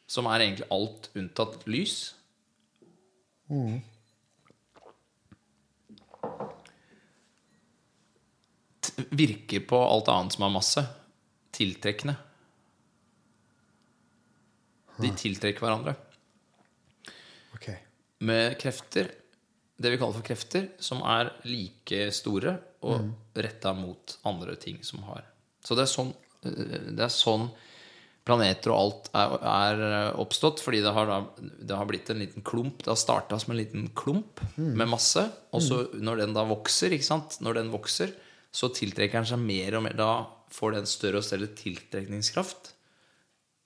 Speaker 2: som er egentlig alt unntatt lys t- Virker på alt annet som har masse. Tiltrekkende. De tiltrekker hverandre
Speaker 1: Ok.
Speaker 2: med krefter, det vi kaller for krefter, som er like store og retta mot andre ting som har. Så det er sånn, øh, det er sånn planeter og alt er, er øh, oppstått, fordi det har, da, det har blitt en liten klump. Det har starta som en liten klump med masse, og så når den da vokser, ikke sant? Når den vokser, så tiltrekker den seg mer og mer. Da får den større og større tiltrekningskraft.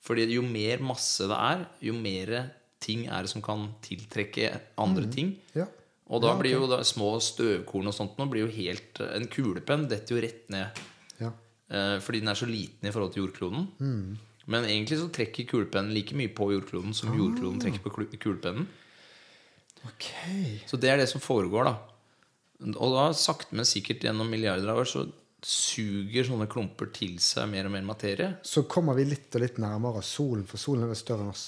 Speaker 2: Fordi jo mer masse det er, jo mer ting er det som kan tiltrekke andre ting.
Speaker 1: Mm. Ja.
Speaker 2: Og da blir jo da små støvkorn og sånt nå blir jo helt eh, En kulepenn detter jo rett ned
Speaker 1: ja.
Speaker 2: eh, fordi den er så liten i forhold til jordkloden.
Speaker 1: Mm.
Speaker 2: Men egentlig så trekker kulepennen like mye på jordkloden
Speaker 1: Ah.
Speaker 2: som jordkloden trekker på klu- kulepennen.
Speaker 1: Ok.
Speaker 2: Så det er det som foregår, da. Og da sakte, men sikkert gjennom milliarder av år så suger sånne klumper til seg mer og mer materie.
Speaker 1: Så kommer vi litt og litt nærmere solen, for solen er vel større enn oss.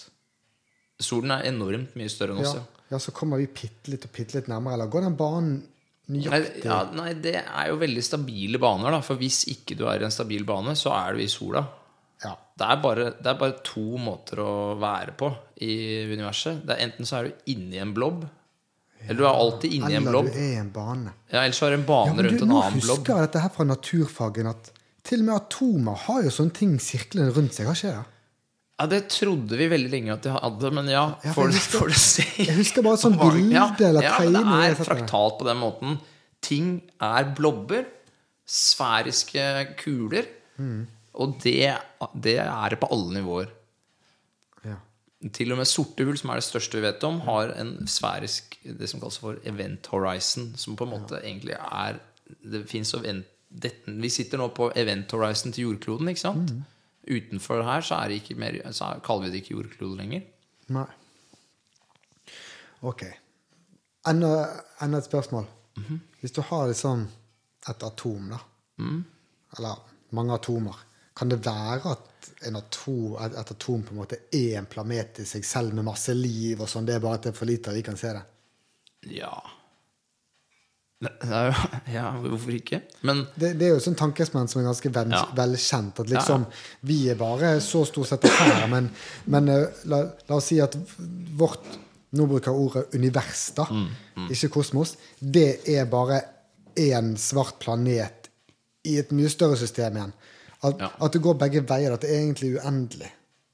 Speaker 2: Solen er enormt mye større enn
Speaker 1: Ja,
Speaker 2: oss. ja.
Speaker 1: ja så kommer vi bitte litt og bitte litt nærmere. Eller går den banen
Speaker 2: Nei,
Speaker 1: nøyaktig?
Speaker 2: ja, nei, det er jo veldig stabile baner, da. For hvis ikke du er i en stabil bane, så er du i sola.
Speaker 1: Ja.
Speaker 2: Det er, bare, det er bare to måter å være på i universet. Det er Enten så er du inni en blob, eller du er alltid inni en
Speaker 1: Eller
Speaker 2: blob.
Speaker 1: du er i en bane.
Speaker 2: Ja, Ellers så er det en bane
Speaker 1: Ja, men du,
Speaker 2: rundt en
Speaker 1: nå
Speaker 2: annen blob.
Speaker 1: husker jeg dette her fra naturfagen, at til og med atomer har jo sånne ting sirklende rundt seg. Har ikke det?
Speaker 2: Ja, Det trodde vi veldig lenge at de hadde, men ja,
Speaker 1: Ja, for
Speaker 2: får
Speaker 1: jeg
Speaker 2: du,
Speaker 1: husker-
Speaker 2: får du se.
Speaker 1: jeg husker bare sånn bilde eller
Speaker 2: ja, men
Speaker 1: tegning, jeg
Speaker 2: Det
Speaker 1: har
Speaker 2: er
Speaker 1: sett det.
Speaker 2: fraktalt på den måten. Ting er blobber. Sfæriske kuler.
Speaker 1: Mm.
Speaker 2: Og det, det er det på alle nivåer.
Speaker 1: Ja.
Speaker 2: Til og med sorte hull, som er det største vi vet om, har en sfærisk Det som kalles for event horizon, som på en måte egentlig er Det fins event dette, Vi sitter nå på event horizon til jordkloden, ikke sant? Utenfor her så, er det ikke mer, så er, kaller vi det ikke jordklode lenger.
Speaker 1: Nei. Ok. Enda, enda et spørsmål. Hvis du har liksom et atom, da, eller mange atomer, kan det være at en atom, et, et atom på en måte er en planet i seg selv med masse liv og sånn? Det er bare at det er for lite, og vi kan se det.
Speaker 2: Ja. Ne- det er jo- ja, hvorfor ikke? Men
Speaker 1: Det, det er jo et sånt tankesmenn som er ganske ven,
Speaker 2: Ja.
Speaker 1: velkjent. At liksom Vi er bare så stort sett her, men, men eh, la, la oss si at vårt Nå bruker jeg ordet univers, da.
Speaker 2: Mm,
Speaker 1: Ikke kosmos. Det er bare én svart planet i et mye større system igjen. At,
Speaker 2: Ja.
Speaker 1: at det går begge veier. At det er egentlig uendelig.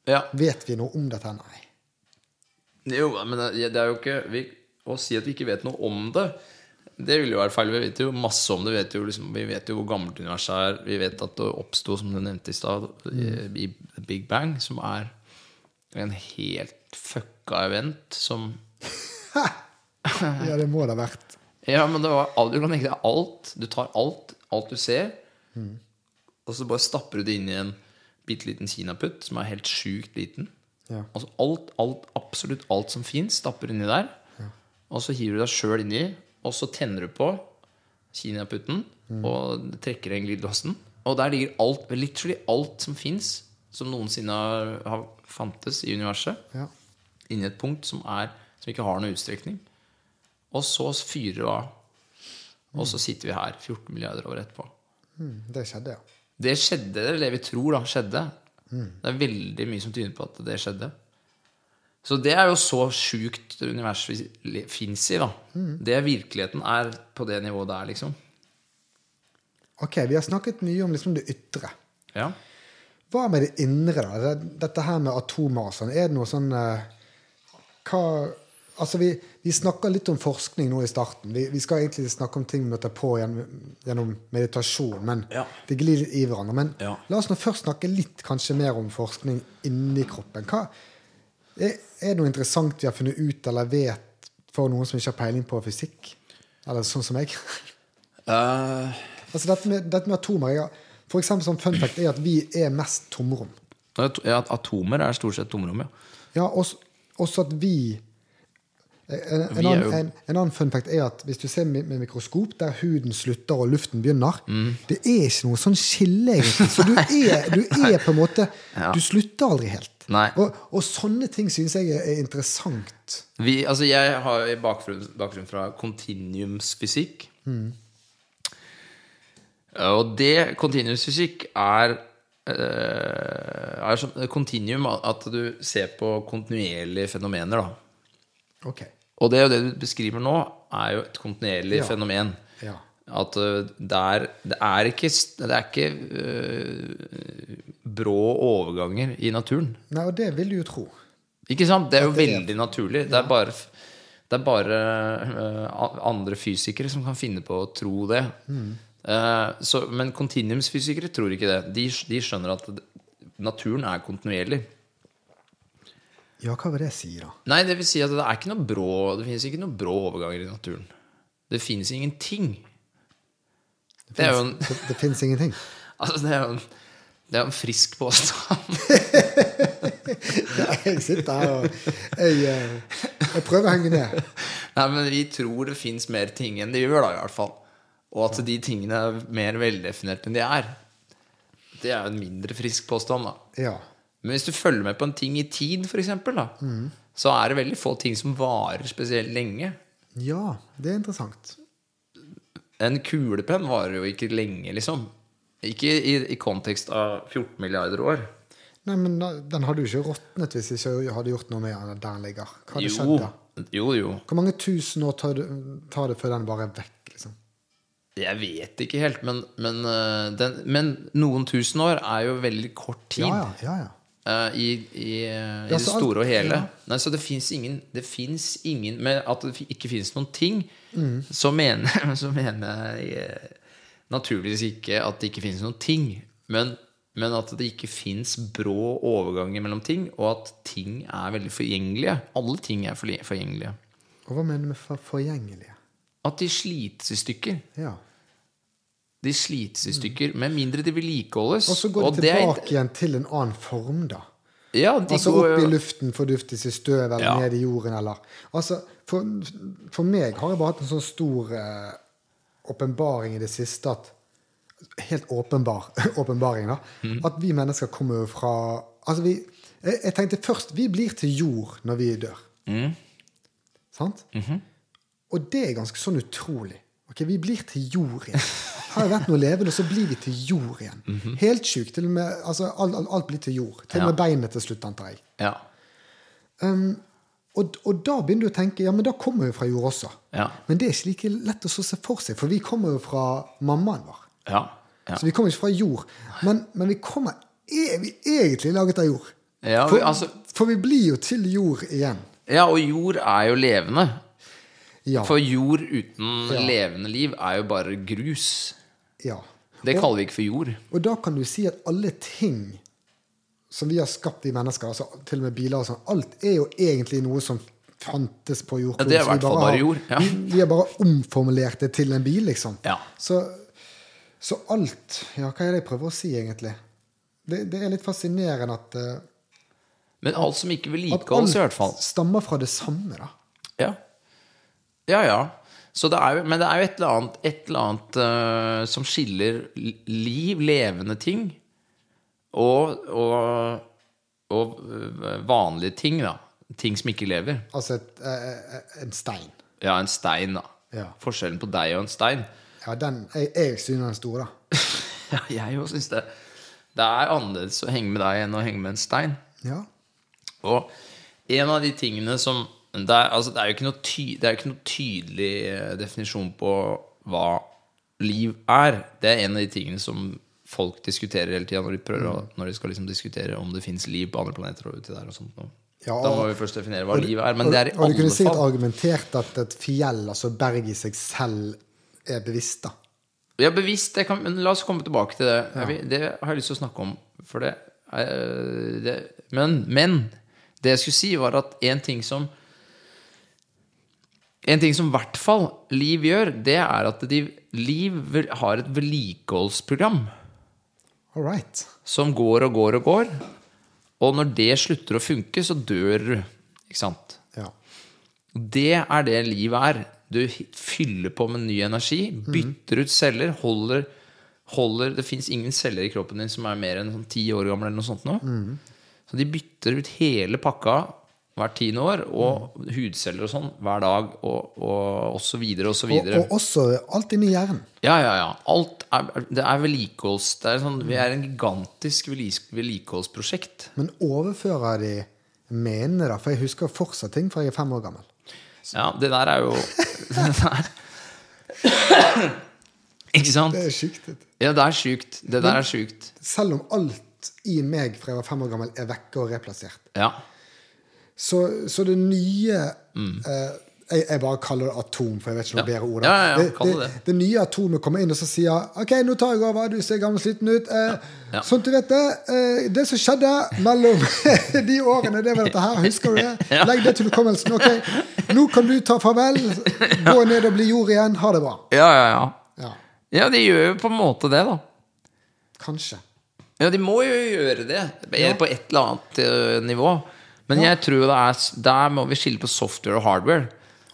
Speaker 2: ja,
Speaker 1: Vet vi noe om dette? Nei.
Speaker 2: Jo, men det det er jo ikke vi, Å si at vi ikke vet noe om det Det ville jo være feil, vi vet jo masse om det Vi vet jo, liksom, vi vet jo hvor gammelt universet er Vi vet at det oppstod, som du nevnte i sted I i Big Bang Som er en helt fucka event Som
Speaker 1: Ja, det må det ha vært.
Speaker 2: ja, men det var alt, du kan tenke deg alt. Du tar alt, alt du ser, og så bare stapper du det inn i en bitte liten kinaputt som er helt sjukt liten.
Speaker 1: Ja.
Speaker 2: Altså alt, alt, absolutt alt som fins, stapper du inni der. Og så hiver du deg sjøl inni, og så tenner du på kinaputten og trekker en glidelåsen. Og der ligger alt, literally alt som fins, som noensinne har, har fantes i universet
Speaker 1: Ja.
Speaker 2: inni et punkt som, er, som ikke har noen utstrekning. Og så fyrer det av. Og så sitter vi her 14 milliarder år etterpå.
Speaker 1: Mm, det skjedde, ja.
Speaker 2: Det skjedde, eller det vi tror da skjedde. Det er veldig mye som tyder på at det skjedde. Så det er jo så sjukt univers vi fins i, da. Det virkeligheten er på det nivået der, liksom.
Speaker 1: Ok, vi har snakket mye om liksom det ytre.
Speaker 2: Ja.
Speaker 1: Hva med det indre, da? Det- Dette her med atomer og sånn. Er det noe sånn eh, Hva Altså vi, vi snakka litt om forskning nå i starten. Vi, vi skal egentlig snakke om ting vi møter på gjennom, gjennom meditasjon. Men
Speaker 2: Ja.
Speaker 1: det glir litt i hverandre. Men
Speaker 2: Ja.
Speaker 1: la oss nå først snakke litt kanskje mer om forskning inni kroppen. Hva, er, er det noe interessant vi har funnet ut eller vet for noen som ikke har peiling på fysikk? Eller sånn som meg?
Speaker 2: Eh,
Speaker 1: altså dette med, dette med atomer jeg, har- For eksempel sånn fun fact er at vi er mest tomrom.
Speaker 2: Eh, ja, atomer er stort sett tomrom, ja.
Speaker 1: Ja, også, også at vi eh, en, en,
Speaker 2: Vi er
Speaker 1: annen,
Speaker 2: jo-
Speaker 1: en, en annen fun fact er at hvis du ser med, med mikroskop der huden slutter og luften begynner,
Speaker 2: Mm.
Speaker 1: det er ikke noe sånn skille, egentlig. Så du er, du er på en måte
Speaker 2: Ja.
Speaker 1: Du slutter aldri helt.
Speaker 2: Nei.
Speaker 1: Og, og sånne ting syns jeg er, er interessant.
Speaker 2: Vi, altså jeg har jo bakgrunn, bakgrunn fra kontinuumsfysikk. Eh, Og det kontinuumsfysikk er eh, er som kontinuum at du ser på kontinuerlige fenomener, da.
Speaker 1: Ok.
Speaker 2: Og det er jo det du beskriver nå, er jo et kontinuerlig
Speaker 1: Ja.
Speaker 2: fenomen.
Speaker 1: Ja.
Speaker 2: At ø, der, det er ikke, s- det er ikke ø, brå overganger i naturen.
Speaker 1: Nei, og det vil du jo tro.
Speaker 2: Ikke sant? Det er jo
Speaker 1: det er-
Speaker 2: veldig naturlig. Det er bare, f- det er bare ø, a- andre fysikere som kan finne på å tro det.
Speaker 1: Mm.
Speaker 2: Eh, så, men kontinuumsfysikere tror ikke det. De, sk- de skjønner at det- naturen er kontinuerlig.
Speaker 1: Ja, hva vil det si, da?
Speaker 2: Nei, det vil si at det er ikke noe brå Det finnes ikke noe brå overganger i naturen. Det finnes ingenting.
Speaker 1: Det
Speaker 2: Det er jo
Speaker 1: finnes-
Speaker 2: en,
Speaker 1: det, det fins ingenting.
Speaker 2: altså, det er jo en, det er jo en frisk påstand.
Speaker 1: Ja, jeg sitter her og jeg, eh, jeg prøver å henge ned.
Speaker 2: Nei, men vi tror det fins mer ting enn det gjør, da, i hvert fall. Og at de tingene er mer veldefinert enn de er. Det er jo en mindre frisk påstand, da.
Speaker 1: Ja.
Speaker 2: Men hvis du følger med på en ting i tid, for eksempel, da, så er det veldig få ting som varer spesielt lenge.
Speaker 1: ja, det er interessant.
Speaker 2: En kulepenn varer jo ikke lenge, liksom. Ikke i, i kontekst av 14 milliarder år.
Speaker 1: Nei, men da- Den hadde jo ikke råtnet hvis jeg ikke hadde gjort noe med den der den ligger. Hva hadde skjedd
Speaker 2: Jo,
Speaker 1: da?
Speaker 2: jo, jo.
Speaker 1: Hvor mange tusen år tar det, tar det før den bare er vekk? liksom?
Speaker 2: Jeg vet ikke helt, men, men, øh, den, men noen tusen år er jo veldig kort tid.
Speaker 1: Ja, ja, ja, ja.
Speaker 2: øh, I, i, øh, i
Speaker 1: Ja,
Speaker 2: det
Speaker 1: så alt-
Speaker 2: store og hele.
Speaker 1: ja.
Speaker 2: Nei, så det fins ingen, det finnes ingen Med at det ikke fins noen ting,
Speaker 1: Mm.
Speaker 2: så, mener, så mener jeg eh, naturligvis ikke at det ikke fins noen ting. Men, men at det ikke fins brå overganger mellom ting, og at ting er veldig forgjengelige. Alle ting er forli- forgjengelige.
Speaker 1: Og hva mener du med for, forgjengelige?
Speaker 2: At de slites i stykker.
Speaker 1: Ja.
Speaker 2: De slites i stykker, med mindre de vedlikeholdes.
Speaker 1: Mm. Og så går det
Speaker 2: er-
Speaker 1: tilbake igjen til en annen form, da.
Speaker 2: Ja, de
Speaker 1: Altså
Speaker 2: går,
Speaker 1: opp i luften forduftes i støv, eller
Speaker 2: Ja.
Speaker 1: ned i jorden, eller Altså, for, for meg har jeg bare hatt en sånn stor eh, åpenbaring i det siste at Helt åpenbar åpenbaring, da.
Speaker 2: Mhm.
Speaker 1: At vi mennesker kommer jo fra Altså, vi jeg, jeg tenkte først Vi blir til jord når vi dør.
Speaker 2: Mhm.
Speaker 1: Sant? Og det er ganske sånn utrolig. Ok, Vi blir til jord igjen. Her har vært noe levende, og så blir vi til jord igjen.
Speaker 2: Mhm.
Speaker 1: Helt sjukt. Til og med, altså, alt, alt, alt blir til jord. Til og med beinet til slutt, antar jeg.
Speaker 2: Ja.
Speaker 1: Og, og da begynner du å tenke ja, men da kommer vi fra jord også.
Speaker 2: Ja.
Speaker 1: Men det er ikke like lett å så se for seg, for vi kommer jo fra mammaen vår.
Speaker 2: Ja. ja.
Speaker 1: Så vi kommer ikke fra jord. Men, men vi kommer er vi egentlig laget av jord.
Speaker 2: Ja,
Speaker 1: for,
Speaker 2: vi- altså-
Speaker 1: for vi blir jo til jord igjen.
Speaker 2: ja, og jord er jo levende.
Speaker 1: Ja.
Speaker 2: For jord uten
Speaker 1: Ja.
Speaker 2: levende liv er jo bare grus.
Speaker 1: ja.
Speaker 2: Det kaller vi ikke for jord.
Speaker 1: Og da kan du si at alle ting som vi har skapt, vi mennesker, altså til og med biler og sånn, alt er jo egentlig noe som fantes på jordkloden.
Speaker 2: Ja, det er i
Speaker 1: så vi
Speaker 2: hvert fall bare
Speaker 1: har-
Speaker 2: jord, ja.
Speaker 1: Vi, vi har bare omformulert det til en bil, liksom.
Speaker 2: Ja.
Speaker 1: Så, så alt Ja, hva er det jeg prøver å si, egentlig? Det, det er litt fascinerende at, eh,
Speaker 2: Men alt som ikke
Speaker 1: at
Speaker 2: vedlikeholdes, i hvert fall.
Speaker 1: alt stammer fra det samme, da.
Speaker 2: Ja, ja. ja. Så det er, jo- men det er jo et eller annet, et eller annet eh, som skiller li- liv, levende ting, og, og, og eh, vanlige ting, da. Ting som ikke lever.
Speaker 1: Altså et, eh, eh, en stein.
Speaker 2: Ja, en stein, da.
Speaker 1: Ja.
Speaker 2: Forskjellen på deg og en stein.
Speaker 1: Ja, den Jeg, jeg synes den er stor, da.
Speaker 2: Ja, jeg jo syns det. Det er annerledes å henge med deg enn å henge med en stein.
Speaker 1: Ja.
Speaker 2: Og en av de tingene som Det er, altså, det er jo ikke noe, ty, det er jo ikke noe tydelig eh, definisjon på hva liv er. Det er en av de tingene som
Speaker 1: Mm.
Speaker 2: folk diskuterer hele tida når de prøver å- når de skal liksom diskutere om det fins liv på andre planeter. og uti der og sånt. noe.
Speaker 1: Ja,
Speaker 2: Da må
Speaker 1: og-
Speaker 2: vi først definere hva livet er. Men det er
Speaker 1: og, og
Speaker 2: i
Speaker 1: du
Speaker 2: alle
Speaker 1: kunne sikkert
Speaker 2: fall
Speaker 1: argumentert at et fjell, altså berg i seg selv, er bevisst, da.
Speaker 2: Ja, bevisst. Jeg kan, men la oss komme tilbake til det. Jeg vil- Det har jeg lyst til å snakke om. For det, er- det men, men det jeg skulle si, var at en ting som En ting som i hvert fall Liv gjør, det er at de, Liv vel- har et vedlikeholdsprogram
Speaker 1: All right.
Speaker 2: som går og går og går. Og når det slutter å funke, så dør du. Ikke sant?
Speaker 1: Ja.
Speaker 2: Det er det livet er. Du fyller på med ny energi, bytter ut celler, holder, holder Det fins ingen celler i kroppen din som er mer enn sånn ti år gamle. Eller noe sånt nå. Så de bytter ut hele pakka hvert tiende år, og hudceller og sånn hver dag, og, og, og så videre og så
Speaker 1: Og,
Speaker 2: videre.
Speaker 1: og også alt inni hjernen.
Speaker 2: Ja, ja, ja. Alt er, det er vedlikeholds... Det er sånn, vi er en gigantisk vedli- vedlikeholdsprosjekt.
Speaker 1: Men overfører de menene, da? For jeg husker fortsatt ting fra jeg er fem år gammel.
Speaker 2: Ja, det der er jo det der. Ikke sant?
Speaker 1: Det er sjukt. vet du.
Speaker 2: Ja, det er sjukt. Det der er sjukt.
Speaker 1: Selv om alt i meg fra jeg var fem år gammel, er vekke og replassert.
Speaker 2: Ja.
Speaker 1: Så, så det nye eh, jeg, jeg bare kaller det atom, for jeg vet ikke noe bedre ord. da.
Speaker 2: Mm. Ja, ja, ja, kall det
Speaker 1: det,
Speaker 2: det.
Speaker 1: det nye atomet kommer inn og så sier OK, nå tar jeg over. Du ser gammel og sliten ut. Eh,
Speaker 2: Ja.
Speaker 1: Sånn at du vet det. Eh, det som skjedde mellom de årene, det var dette her. Husker du det? Legg det til hukommelsen. OK, nå kan du ta farvel. Gå ned og bli jord igjen. Ha det bra.
Speaker 2: Ja, ja, ja.
Speaker 1: Ja,
Speaker 2: Ja, de gjør jo på en måte det, da.
Speaker 1: kanskje.
Speaker 2: Ja, de må jo gjøre det. På et eller annet eh, nivå. Men jeg tror det er s- Der må vi skille på software og hardware.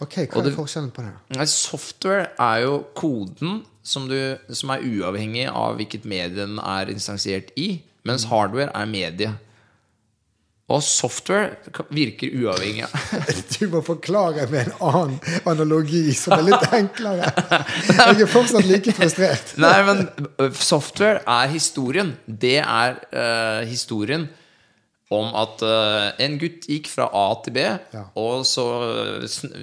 Speaker 1: OK, hva
Speaker 2: Og
Speaker 1: er
Speaker 2: det-
Speaker 1: forskjellen på det? da?
Speaker 2: Nei, Software er jo koden som, du, som er uavhengig av hvilket medie den er instansiert i, mens hardware er medie. Og software ka- virker uavhengig av
Speaker 1: Du må forklare med en annen analogi som er litt enklere. Jeg er fortsatt like frustrert.
Speaker 2: Nei, men ø, software er historien. Det er ø, historien om at ø, en gutt gikk fra A til B, og så ø, sn-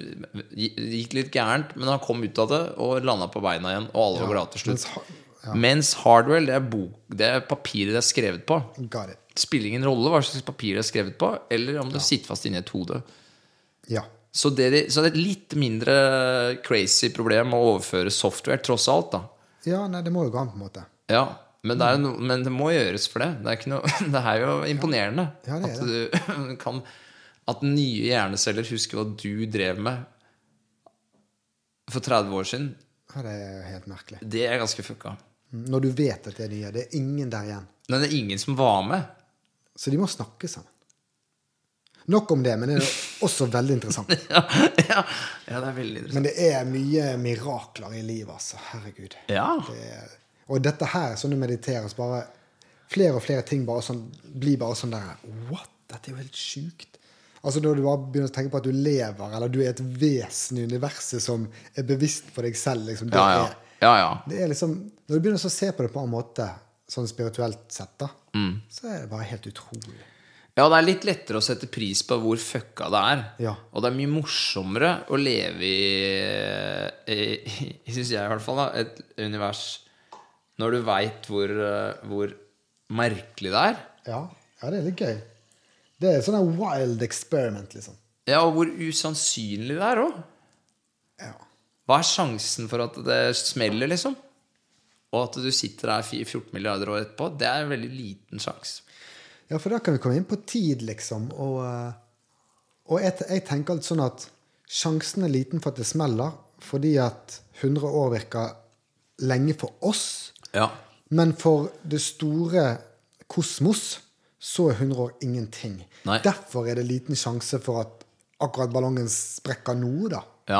Speaker 2: gikk litt gærent, men han kom ut av det og landa på beina igjen, og alle var glade til slutt.
Speaker 1: Mens ha-
Speaker 2: Mens hardware, det er, bok, det er papiret det er skrevet på.
Speaker 1: Got it.
Speaker 2: Spiller ingen rolle hva slags papir det er skrevet på, eller om det sitter fast inni et hode.
Speaker 1: Ja.
Speaker 2: Så det, er- så det er et litt mindre crazy problem å overføre software, tross alt, da.
Speaker 1: Ja, nei, det må jo gå an på en måte.
Speaker 2: Ja, men det, er jo no, men det må gjøres for det. Det er, ikke noe, det er jo imponerende
Speaker 1: Ja, det er
Speaker 2: at du kan At nye hjerneceller husker hva du drev med for 30 år siden.
Speaker 1: Ja, det er helt merkelig.
Speaker 2: Det er ganske fucka.
Speaker 1: Når du vet at det er nye, det er ingen der igjen.
Speaker 2: Men det er ingen som var med.
Speaker 1: Så de må snakke sammen. Nok om det, men det er også veldig interessant.
Speaker 2: Ja, ja, ja det er veldig interessant.
Speaker 1: Men det er mye mirakler i livet, altså. Herregud.
Speaker 2: Ja.
Speaker 1: Det er, og dette her, sånn du mediterer, så bare Flere og flere ting bare sånn, blir bare sånn der What? Dette er jo helt sjukt. Altså Når du bare begynner å tenke på at du lever, eller du er et vesen i universet som er bevisst på deg selv liksom, det
Speaker 2: Ja, ja.
Speaker 1: er
Speaker 2: ja, ja.
Speaker 1: det er liksom, Når du begynner å se på det på en annen måte, sånn spirituelt sett, da, så er det bare helt utrolig.
Speaker 2: Ja, det er litt lettere å sette pris på hvor fucka det er.
Speaker 1: Ja.
Speaker 2: Og det er mye morsommere å leve i, i, i syns jeg i hvert fall, da, et univers når du veit hvor, eh, hvor merkelig det er.
Speaker 1: Ja, ja det er litt gøy. Det er sånn en wild experiment, liksom.
Speaker 2: Ja, og hvor usannsynlig det er òg.
Speaker 1: Ja.
Speaker 2: Hva er sjansen for at det smeller, liksom? Og at du sitter der fi- 14 milliarder år etterpå? Det er en veldig liten sjanse.
Speaker 1: ja, for da kan vi komme inn på tid, liksom. Og, eh, og jeg, jeg tenker alt sånn at sjansen er liten for at det smeller, fordi at 100 år virker lenge for oss.
Speaker 2: Ja.
Speaker 1: Men for det store kosmos så er 100 år ingenting.
Speaker 2: Nei.
Speaker 1: Derfor er det liten sjanse for at akkurat ballongen sprekker nå, da.
Speaker 2: Ja.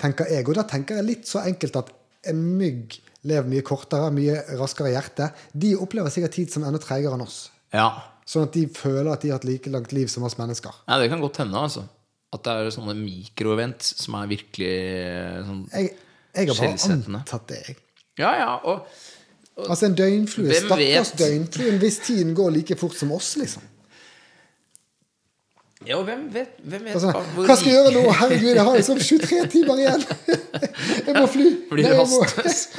Speaker 1: Tenker jeg. Og da tenker jeg litt så enkelt at en mygg lever mye kortere, mye raskere i hjertet. De opplever sikkert tid som enda treigere enn oss.
Speaker 2: Ja.
Speaker 1: Sånn at de føler at de har et like langt liv som oss mennesker.
Speaker 2: Nei, det kan godt hende, altså. At det er sånne mikroevents som er virkelig eh, sånn
Speaker 1: Jeg, jeg har bare
Speaker 2: Skjellsettende.
Speaker 1: antatt det, jeg.
Speaker 2: Ja, ja, og
Speaker 1: Altså en døgnflue.
Speaker 2: Hvem vet?
Speaker 1: Stakkars døgnfluen. Hvis tiden går like fort som oss, liksom.
Speaker 2: ja, og hvem vet, hvem vet
Speaker 1: Altså,
Speaker 2: hva- hvor
Speaker 1: hva skal jeg gjøre
Speaker 2: rik-
Speaker 1: nå? Herregud, jeg har liksom 23 timer igjen! Jeg må fly!
Speaker 2: Blir
Speaker 1: Nei, jeg må-
Speaker 2: rastløs.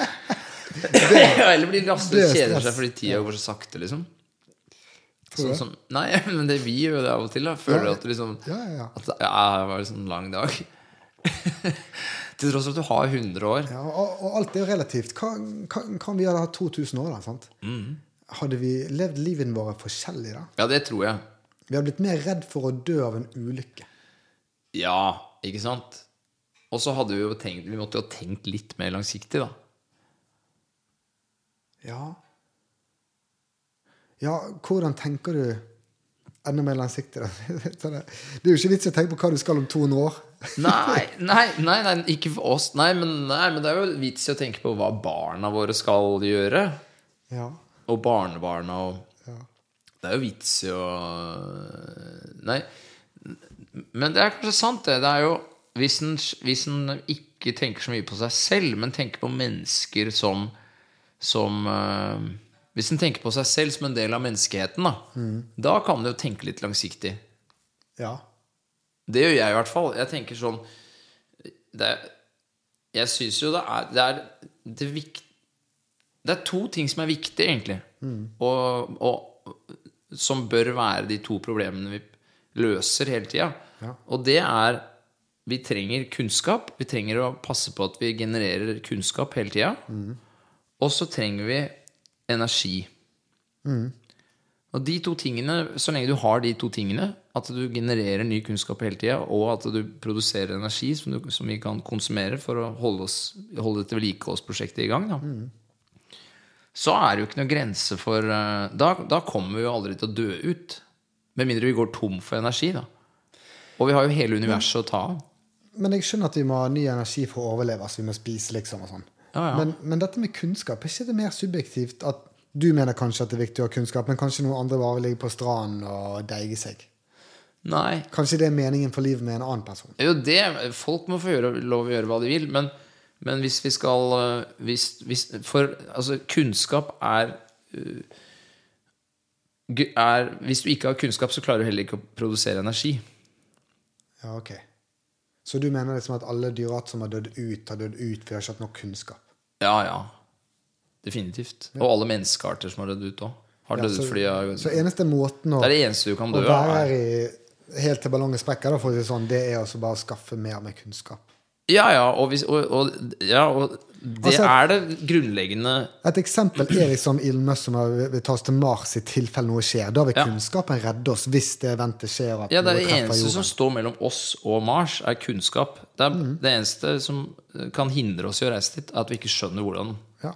Speaker 2: Ja, Eller blir
Speaker 1: det
Speaker 2: rastløs
Speaker 1: er
Speaker 2: kjeder
Speaker 1: stress.
Speaker 2: seg fordi tida går så sakte, liksom. Sånn som, nei, men det vi gjør det av og til. Da. Føler
Speaker 1: Ja.
Speaker 2: at du liksom
Speaker 1: Ja, ja, ja.
Speaker 2: At det ja, det var en sånn lang dag. til tross for at du har 100 år.
Speaker 1: Ja, og, og alt er jo relativt. Hva, hva, kan vi hadde hatt 2000 år da, sant? Hadde vi levd livet våre forskjellig da?
Speaker 2: Ja, det tror jeg.
Speaker 1: Vi hadde blitt mer redd for å dø av en ulykke.
Speaker 2: Ja, ikke sant? Og så hadde vi jo tenkt Vi måtte jo ha tenkt litt mer langsiktig, da.
Speaker 1: Ja. Ja, hvordan tenker du enda mer langsiktig da? Det er jo ikke vits å tenke på hva du skal om 200 år.
Speaker 2: Nei, nei, nei, nei ikke for oss. Nei men, nei, men det er jo vits i å tenke på hva barna våre skal gjøre.
Speaker 1: Ja,
Speaker 2: Og barnebarna og
Speaker 1: ja.
Speaker 2: Det er jo vits i å Nei. Men det er kanskje sant, det. Det er jo Hvis en, hvis en ikke tenker så mye på seg selv, men tenker på mennesker som Som eh, Hvis en tenker på seg selv som en del av menneskeheten, da, da kan en jo tenke litt langsiktig.
Speaker 1: Ja,
Speaker 2: Det gjør jeg i hvert fall. Jeg tenker sånn det, er- Jeg syns jo det er Det er, det, vikt, det er to ting som er viktig, egentlig. Og, og som bør være de to problemene vi løser hele tida.
Speaker 1: Ja.
Speaker 2: Og det er Vi trenger kunnskap. Vi trenger å passe på at vi genererer kunnskap hele tida. Og så trenger vi energi. Og de to tingene, Så lenge du har de to tingene, at du genererer ny kunnskap hele tida, og at du produserer energi som, du, som vi kan konsumere for å holde, oss, holde dette vedlikeholdsprosjektet i gang, da, så er det jo ikke noe grense for eh, da, da kommer vi jo aldri til å dø ut. Med mindre vi går tom for energi, da. Og vi har jo hele universet å ta av.
Speaker 1: men jeg skjønner at vi må ha ny energi for å overleve, så vi må spise liksom og sånn.
Speaker 2: Ja, ja.
Speaker 1: Men, men dette med kunnskap, er ikke det mer subjektivt at du mener kanskje at det er viktig å ha kunnskap, men kanskje noen andre bare ligger på stranden og deiger seg?
Speaker 2: Nei.
Speaker 1: Kanskje det er meningen for livet med en annen person?
Speaker 2: Jo, det, folk må få gjøre, lov å gjøre hva de vil, men, men hvis vi skal øh, hvis, hvis, For altså, kunnskap er øh, gu- er, Hvis du ikke har kunnskap, så klarer du heller ikke å produsere energi.
Speaker 1: Ja, ok. Så du mener liksom at alle dyrearter som har dødd ut, har dødd ut fordi de har ikke hatt nok kunnskap?
Speaker 2: Ja, ja. Definitivt. Og alle menneskearter som har dødd ut òg. Har
Speaker 1: Ja,
Speaker 2: dødd ut
Speaker 1: så,
Speaker 2: fordi de
Speaker 1: så
Speaker 2: har-
Speaker 1: eneste måten å,
Speaker 2: Det er det eneste du kan
Speaker 1: å
Speaker 2: dø av.
Speaker 1: være
Speaker 2: er-
Speaker 1: her i helt til ballongen sprekker, da, for å si det sånn, det er altså bare å skaffe mer med kunnskap.
Speaker 2: Ja, ja. Og, hvis, og, og, ja, og det
Speaker 1: Altså-
Speaker 2: er det grunnleggende
Speaker 1: Et eksempel er liksom Elon Musk som har- vil ta oss til Mars i tilfelle noe skjer. Da vil
Speaker 2: Ja.
Speaker 1: kunnskapen redde oss hvis det eventet skjer at
Speaker 2: Ja, det
Speaker 1: noe
Speaker 2: er det
Speaker 1: treffer
Speaker 2: eneste
Speaker 1: jorden.
Speaker 2: som står mellom oss og Mars, er kunnskap. Det er det eneste som eh, kan hindre oss i å reise dit, er at vi ikke skjønner hvordan.
Speaker 1: Ja.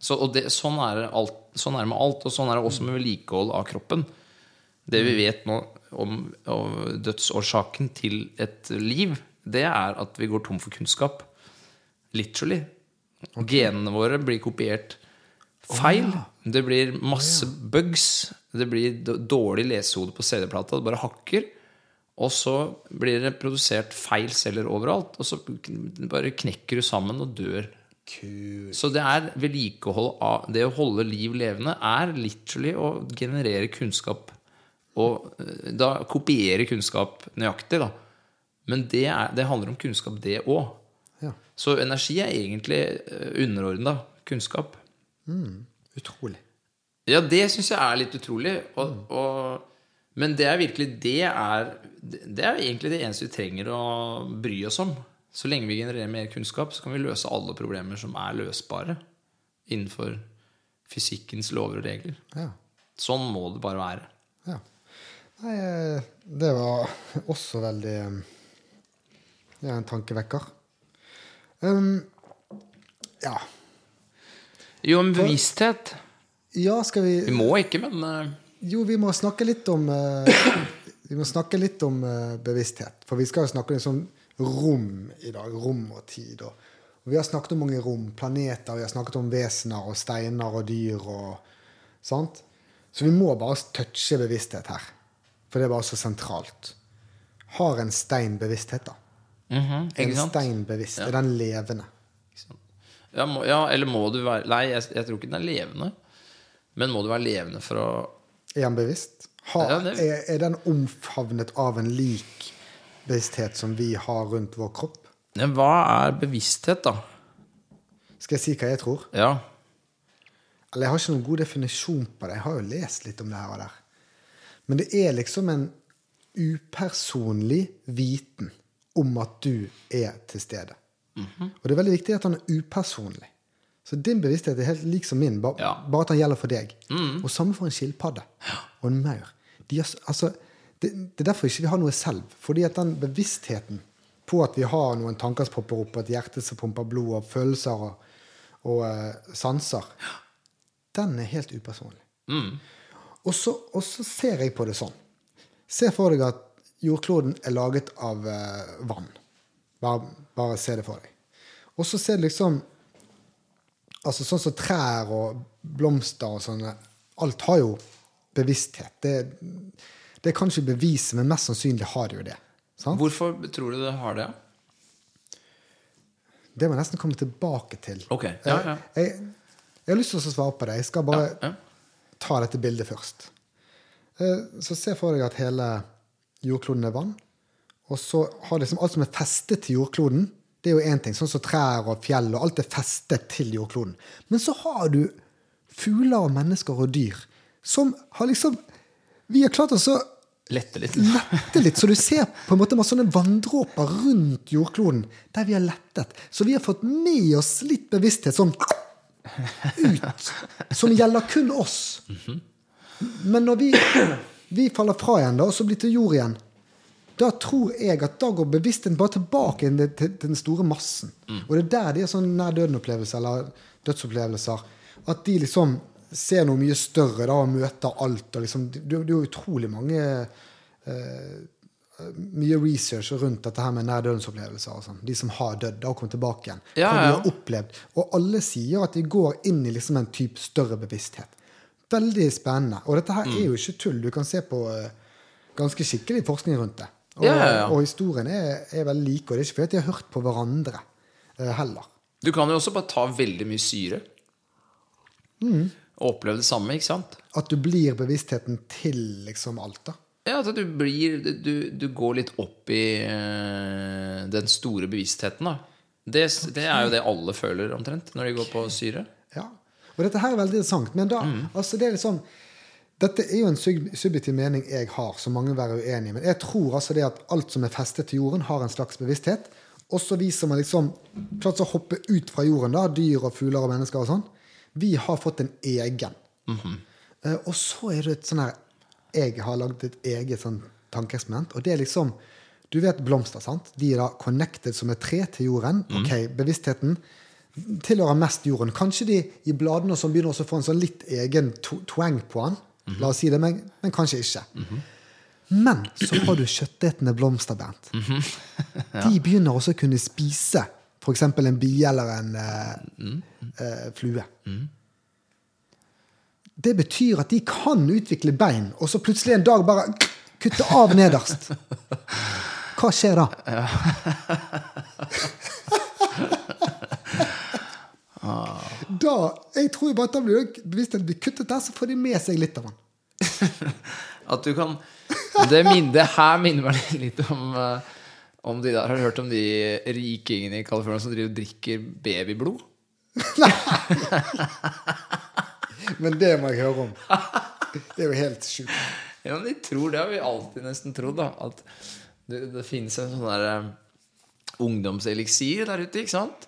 Speaker 2: Så, og det, sånn, er det alt, sånn er det med alt, og sånn er det også med vedlikehold av kroppen. Det vi vet nå om, om dødsårsaken til et liv, det er at vi går tom for kunnskap. Literally. Genene våre blir kopiert feil. Det blir masse bugs. Det blir d- dårlig lesehode på CD-plata. Det bare hakker. Og så blir det produsert feil celler overalt. Og så kn- bare knekker du sammen og dør.
Speaker 1: Kult.
Speaker 2: Så det er vedlikehold av Det å holde liv levende er literally å generere kunnskap. Og eh, da kopiere kunnskap nøyaktig, da. Men det, er, det handler om kunnskap, det òg.
Speaker 1: Ja.
Speaker 2: Så energi er egentlig underordna kunnskap.
Speaker 1: Utrolig.
Speaker 2: Ja, det syns jeg er litt utrolig. Og, og, men det er virkelig det er, det er egentlig det eneste vi trenger å bry oss om. Så lenge vi genererer mer kunnskap, så kan vi løse alle problemer som er løsbare innenfor fysikkens lover og regler.
Speaker 1: Ja.
Speaker 2: Sånn må det bare være.
Speaker 1: Ja. Nei, eh, det var også veldig eh, Ja, en tankevekker. Um, ja.
Speaker 2: Jo, men bevissthet
Speaker 1: Ja, skal
Speaker 2: Vi
Speaker 1: vi
Speaker 2: må ikke, men eh,
Speaker 1: Jo, vi må snakke litt om eh, Vi må snakke litt om eh, bevissthet. For vi skal jo snakke litt om sånn rom i dag. Rom og tid. Og, og vi har snakket om mange rom. Planeter. Vi har snakket om vesener og steiner og dyr og Sant? Så vi må bare touche bevissthet her. For det er bare så sentralt. Har en stein bevissthet, da? En
Speaker 2: mhm, Ikke sant?
Speaker 1: stein bevisst. Er den levende?
Speaker 2: Ikke sant? Ja, må, ja, eller må du være Nei, jeg, jeg tror ikke den er levende. Men må du være levende for å
Speaker 1: Er den bevisst? Har,
Speaker 2: Ja, det-
Speaker 1: er, er den omfavnet av en lik bevissthet som vi har rundt vår kropp?
Speaker 2: Ja, Hva er bevissthet, da?
Speaker 1: Skal jeg si hva jeg tror?
Speaker 2: Ja.
Speaker 1: Eller jeg har ikke noen god definisjon på det. Jeg har jo lest litt om det her og der. Men det er liksom en upersonlig viten om at du er til stede. Og det er veldig viktig at han er upersonlig. Så din bevissthet er helt lik som min, ba,
Speaker 2: Ja.
Speaker 1: bare at han gjelder for deg. Og samme for en skilpadde og en maur. De er, s- altså, det, det er derfor ikke vi har noe selv. Fordi at den bevisstheten på at vi har noen tanker som popper opp, og et hjerte som pumper blod, og følelser og, og eh, sanser, den er helt upersonlig. Og så, og så ser jeg på det sånn. Se for deg at jordkloden er laget av eh, vann. Bare, bare se det for deg. Og så ser du liksom altså Sånn som trær og blomster og sånne Alt har jo bevissthet. Det, det kan ikke bevise, men mest sannsynlig har det jo det. Sant?
Speaker 2: Hvorfor tror du det har det?
Speaker 1: Det må jeg nesten komme tilbake til.
Speaker 2: Ok, ja, ja.
Speaker 1: Jeg, jeg, jeg har lyst til å svare på det. Jeg skal bare
Speaker 2: Ja.
Speaker 1: ta dette bildet først. Eh, Så se for deg at hele jordkloden er vann. Og så har liksom alt som er festet til jordkloden, det er jo én ting. Sånn som trær og fjell og alt er festet til jordkloden. Men så har du fugler og mennesker og dyr som har liksom Vi har klart å så
Speaker 2: Lette litt.
Speaker 1: lette litt, så du ser på en måte masse sånne vanndråper rundt jordkloden der vi har lettet. Så vi har fått med oss litt bevissthet sånn ut, som gjelder kun oss. Men når vi, vi faller fra igjen da, og så blir til jord igjen, da tror jeg at da går bevisstheten bare tilbake inn til, til den store massen. Og det er der de har sånn nær døden-opplevelse eller dødsopplevelser. At de liksom ser noe mye større da, og møter alt. Og liksom, det, det er jo utrolig mange mye research rundt dette her med nær dødens-opplevelser. og sånn. De som har dødd og kommet tilbake igjen.
Speaker 2: Ja,
Speaker 1: Hva
Speaker 2: ja.
Speaker 1: de har opplevd. Og alle sier at de går inn i liksom en type større bevissthet. Veldig spennende. Og dette her er jo ikke tull. Du kan se på eh, ganske skikkelig forskning rundt det. Og,
Speaker 2: Ja, ja, ja.
Speaker 1: og historien er, er veldig like, og det er ikke fordi at de har hørt på hverandre eh, heller.
Speaker 2: Du kan jo også bare ta veldig mye syre. Og oppleve det samme, ikke sant?
Speaker 1: At du blir bevisstheten til liksom alt, da.
Speaker 2: Ja, at du blir Du, du går litt opp i eh, den store bevisstheten, da. Det, det er jo det alle føler omtrent når de går på syre.
Speaker 1: Ja. Og dette her er veldig interessant. Men da, altså det er liksom Dette er jo en sub subjektiv mening jeg har, som mange vil være uenig i. Men jeg tror altså det at alt som er festet til jorden, har en slags bevissthet. Også vi som har liksom klart å hoppe ut fra jorden, da, dyr og fugler og mennesker og sånn, vi har fått en egen. Eh, og så er det et sånn her Jeg har lagd et eget sånn tankeeksperiment, og det er liksom Du vet blomster, sant? De er da connected som et tre til jorden. Ok, bevisstheten tilhører mest jorden. Kanskje de i bladene som begynner også å få en sånn litt egen to- twang på den. La oss si det, men, men kanskje ikke. Men så har du kjøttetende blomster, Bernt. De begynner også å kunne spise f.eks. en bie eller en eh, eh, flue. Det betyr at de kan utvikle bein, og så plutselig en dag bare kutte av nederst. Hva skjer da? da jeg tror bare at da blir det bevisst at de blir kuttet der, så får de med seg litt av den.
Speaker 2: At du kan Det, min, det her minner meg litt om eh, om de der, Har du hørt om de rikingene i California som driver og drikker babyblod?
Speaker 1: Men det må jeg høre om. Det er jo helt sjukt.
Speaker 2: Ja, men de tror, Det har vi alltid nesten trodd, da. At det, det finnes en sånn der eh, ungdomseliksir der ute, ikke sant?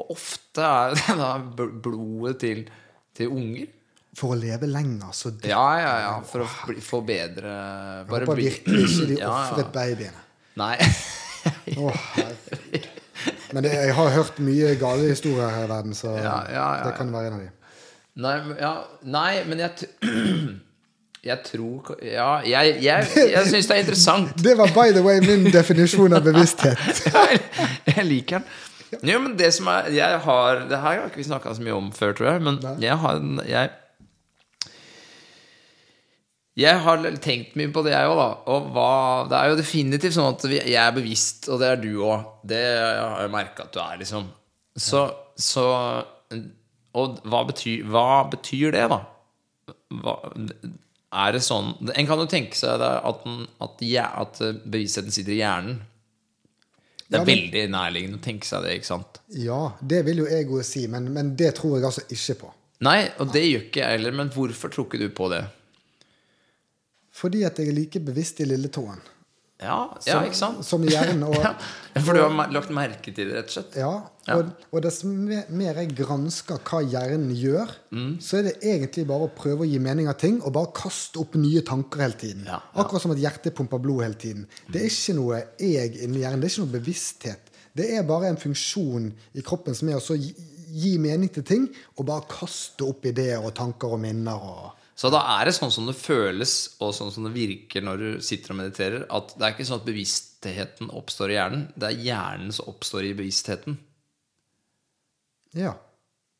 Speaker 2: Og ofte er det da bl- blodet til, til unger.
Speaker 1: For å leve lenger, så det
Speaker 2: Ja, ja, ja. For å bli, få bedre
Speaker 1: Jeg håper
Speaker 2: bli-
Speaker 1: virkelig ikke de
Speaker 2: Ja, ja.
Speaker 1: ofret babyene.
Speaker 2: Nei.
Speaker 1: Å, herregud. Men det, jeg har hørt mye gale historier her i verden, så
Speaker 2: Ja, ja, ja,
Speaker 1: det kan være en av de.
Speaker 2: Nei, men- ja, nei, men jeg t- Jeg tror k- Ja, jeg, jeg, jeg syns det er interessant.
Speaker 1: Det var by the way min definisjon av bevissthet.
Speaker 2: jeg liker den. Jo, men det som er Jeg har Det her har ikke vi snakka så mye om før, tror jeg, men jeg har en jeg, jeg har tenkt mye på det, jeg òg, da. Og hva, det er jo definitivt sånn at vi, jeg er bevisst, og det er du òg. Det har jeg merka at du er, liksom. Så, så Og hva betyr, hva betyr det, da? hva, Er det sånn En kan jo tenke seg det at, den, at, hjer- at bevisstheten sitter i hjernen. Det er
Speaker 1: Ja, men-
Speaker 2: veldig nærliggende å tenke seg det, ikke sant?
Speaker 1: Ja, det vil jo jeg òg si, men, men det tror jeg altså ikke på.
Speaker 2: Nei, og det gjør ikke jeg heller, men hvorfor tror ikke du på det?
Speaker 1: Fordi at jeg er like bevisst i lilletåen.
Speaker 2: Ja, ja
Speaker 1: Som-
Speaker 2: ikke sant?
Speaker 1: som jern og-
Speaker 2: ja, for du har mer- lagt merke til det, rett og slett?
Speaker 1: Ja, og, og dess me- mer jeg gransker hva hjernen gjør,
Speaker 2: Mm.
Speaker 1: så er det egentlig bare å prøve å gi mening av ting og bare kaste opp nye tanker hele tiden.
Speaker 2: Ja, ja. Mm.
Speaker 1: Akkurat som at hjertet pumper blod hele tiden. Det er ikke noe jeg inni hjernen, det er ikke noe bevissthet. Det er bare en funksjon i kroppen som er å så gi, gi mening til ting og bare kaste opp ideer og tanker og minner og
Speaker 2: Så da er det sånn som det føles, og sånn som det virker når du sitter og mediterer, at det er ikke sånn at bevisstheten oppstår i hjernen. Det er hjernen som oppstår i bevisstheten.
Speaker 1: Ja.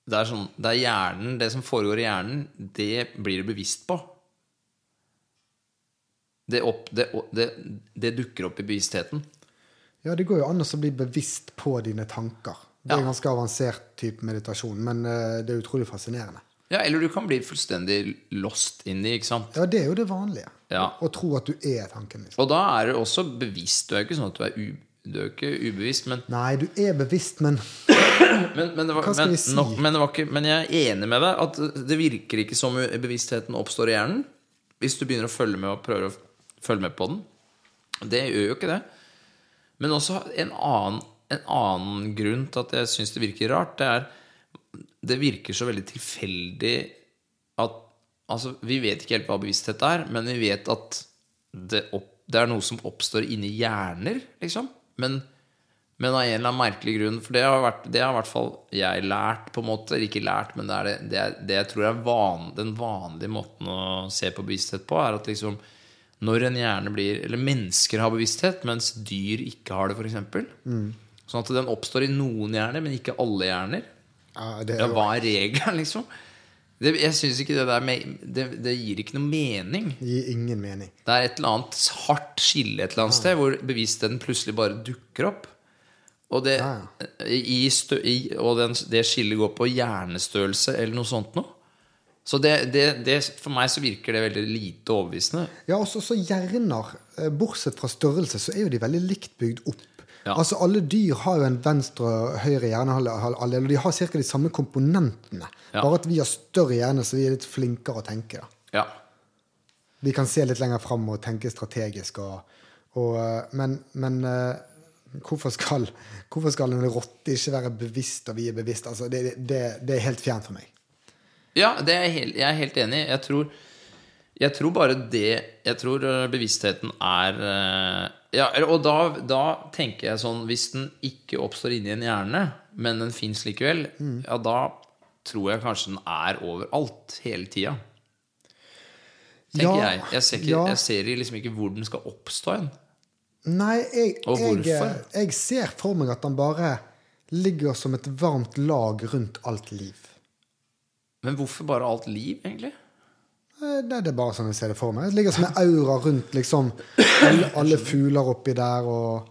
Speaker 2: Det er, sånn, det er hjernen, det som foregår i hjernen, det blir du bevisst på. Det, opp, det, det, det dukker opp i bevisstheten.
Speaker 1: ja, det går jo an å så bli bevisst på dine tanker. Det er
Speaker 2: Ja.
Speaker 1: ganske avansert type meditasjon, men eh, det er utrolig fascinerende.
Speaker 2: Ja, Eller du kan bli fullstendig lost inni, ikke sant?
Speaker 1: Ja, det er jo det vanlige.
Speaker 2: Ja.
Speaker 1: Å tro at du er tanken. Liksom.
Speaker 2: Og da er du også bevisst. Du er ikke sånn at du er, u, du er ikke ubevisst, men
Speaker 1: Nei, du er bevisst, men
Speaker 2: Men, men, det var,
Speaker 1: Hva skal
Speaker 2: men,
Speaker 1: vi si?
Speaker 2: nok- men, det var ikke, men jeg er enig med deg at det virker ikke som bevisstheten oppstår i hjernen. Hvis du begynner å følge med og prøver å følge med på den. Det gjør jo ikke det. Men også en annen, en annen grunn til at jeg syns det virker rart, det er Det virker så veldig tilfeldig at Altså, vi vet ikke helt hva bevissthet er, men vi vet at det, opp, det er noe som oppstår inni hjerner, liksom. Men, men av en eller annen merkelig grunn For det har, vært, det har i hvert fall jeg lært, på en måte. Eller Ikke lært, men det er det, det, er, det jeg tror er van, den vanlige måten å se på bevissthet på, er at liksom når en hjerne blir Eller mennesker har bevissthet, mens dyr ikke har det, f.eks. Mm. Sånn at den oppstår i noen hjerner, men ikke alle hjerner.
Speaker 1: ja, det
Speaker 2: Ja,
Speaker 1: er jo
Speaker 2: hva er regelen, liksom? Det, jeg synes ikke det der me- det, det gir ikke noe mening.
Speaker 1: gir ingen mening.
Speaker 2: Det er et eller annet hardt skille et eller annet sted hvor bevisstheten plutselig bare dukker opp. Og det,
Speaker 1: Ja,
Speaker 2: i stø, i, og den, det skillet går på hjernestørrelse eller noe sånt noe. Så det, det, det, for meg så virker det veldig lite overbevisende.
Speaker 1: Ja, også så hjerner, eh, bortsett fra størrelse, så er jo de veldig likt bygd opp.
Speaker 2: Ja.
Speaker 1: Altså, Alle dyr har jo en venstre og høyre hjernehalvdel, og de har ca. de samme komponentene.
Speaker 2: Ja.
Speaker 1: Bare at vi har større hjerne, så vi er litt flinkere å tenke. da.
Speaker 2: Ja.
Speaker 1: Vi kan se litt lenger fram og tenke strategisk. Og, og, eh, men men eh, hvorfor, skal, hvorfor skal en rotte ikke være bevisst, og vi er bevisst? Altså, det, det- det, det er helt fjernt for meg.
Speaker 2: Ja, det er jeg, helt, jeg er helt enig i. Jeg tror, jeg tror bare det Jeg tror øh, bevisstheten er øh, ja, eller- Og da, da tenker jeg sånn Hvis den ikke oppstår inni en hjerne, men den fins likevel,
Speaker 1: Mm.
Speaker 2: ja, da tror jeg kanskje den er overalt hele tida. Tenker
Speaker 1: Ja,
Speaker 2: jeg. Jeg ser, ikke,
Speaker 1: ja.
Speaker 2: jeg ser liksom ikke hvor den skal oppstå hen.
Speaker 1: Nei, jeg,
Speaker 2: Og
Speaker 1: jeg, eh,
Speaker 2: hvorfor?
Speaker 1: jeg ser for meg at han bare ligger som et varmt lag rundt alt liv.
Speaker 2: Men hvorfor bare alt liv, egentlig?
Speaker 1: Eh, Nei, det er bare sånn jeg ser det for meg. Det ligger som en aura rundt liksom alle, alle fugler oppi der, og,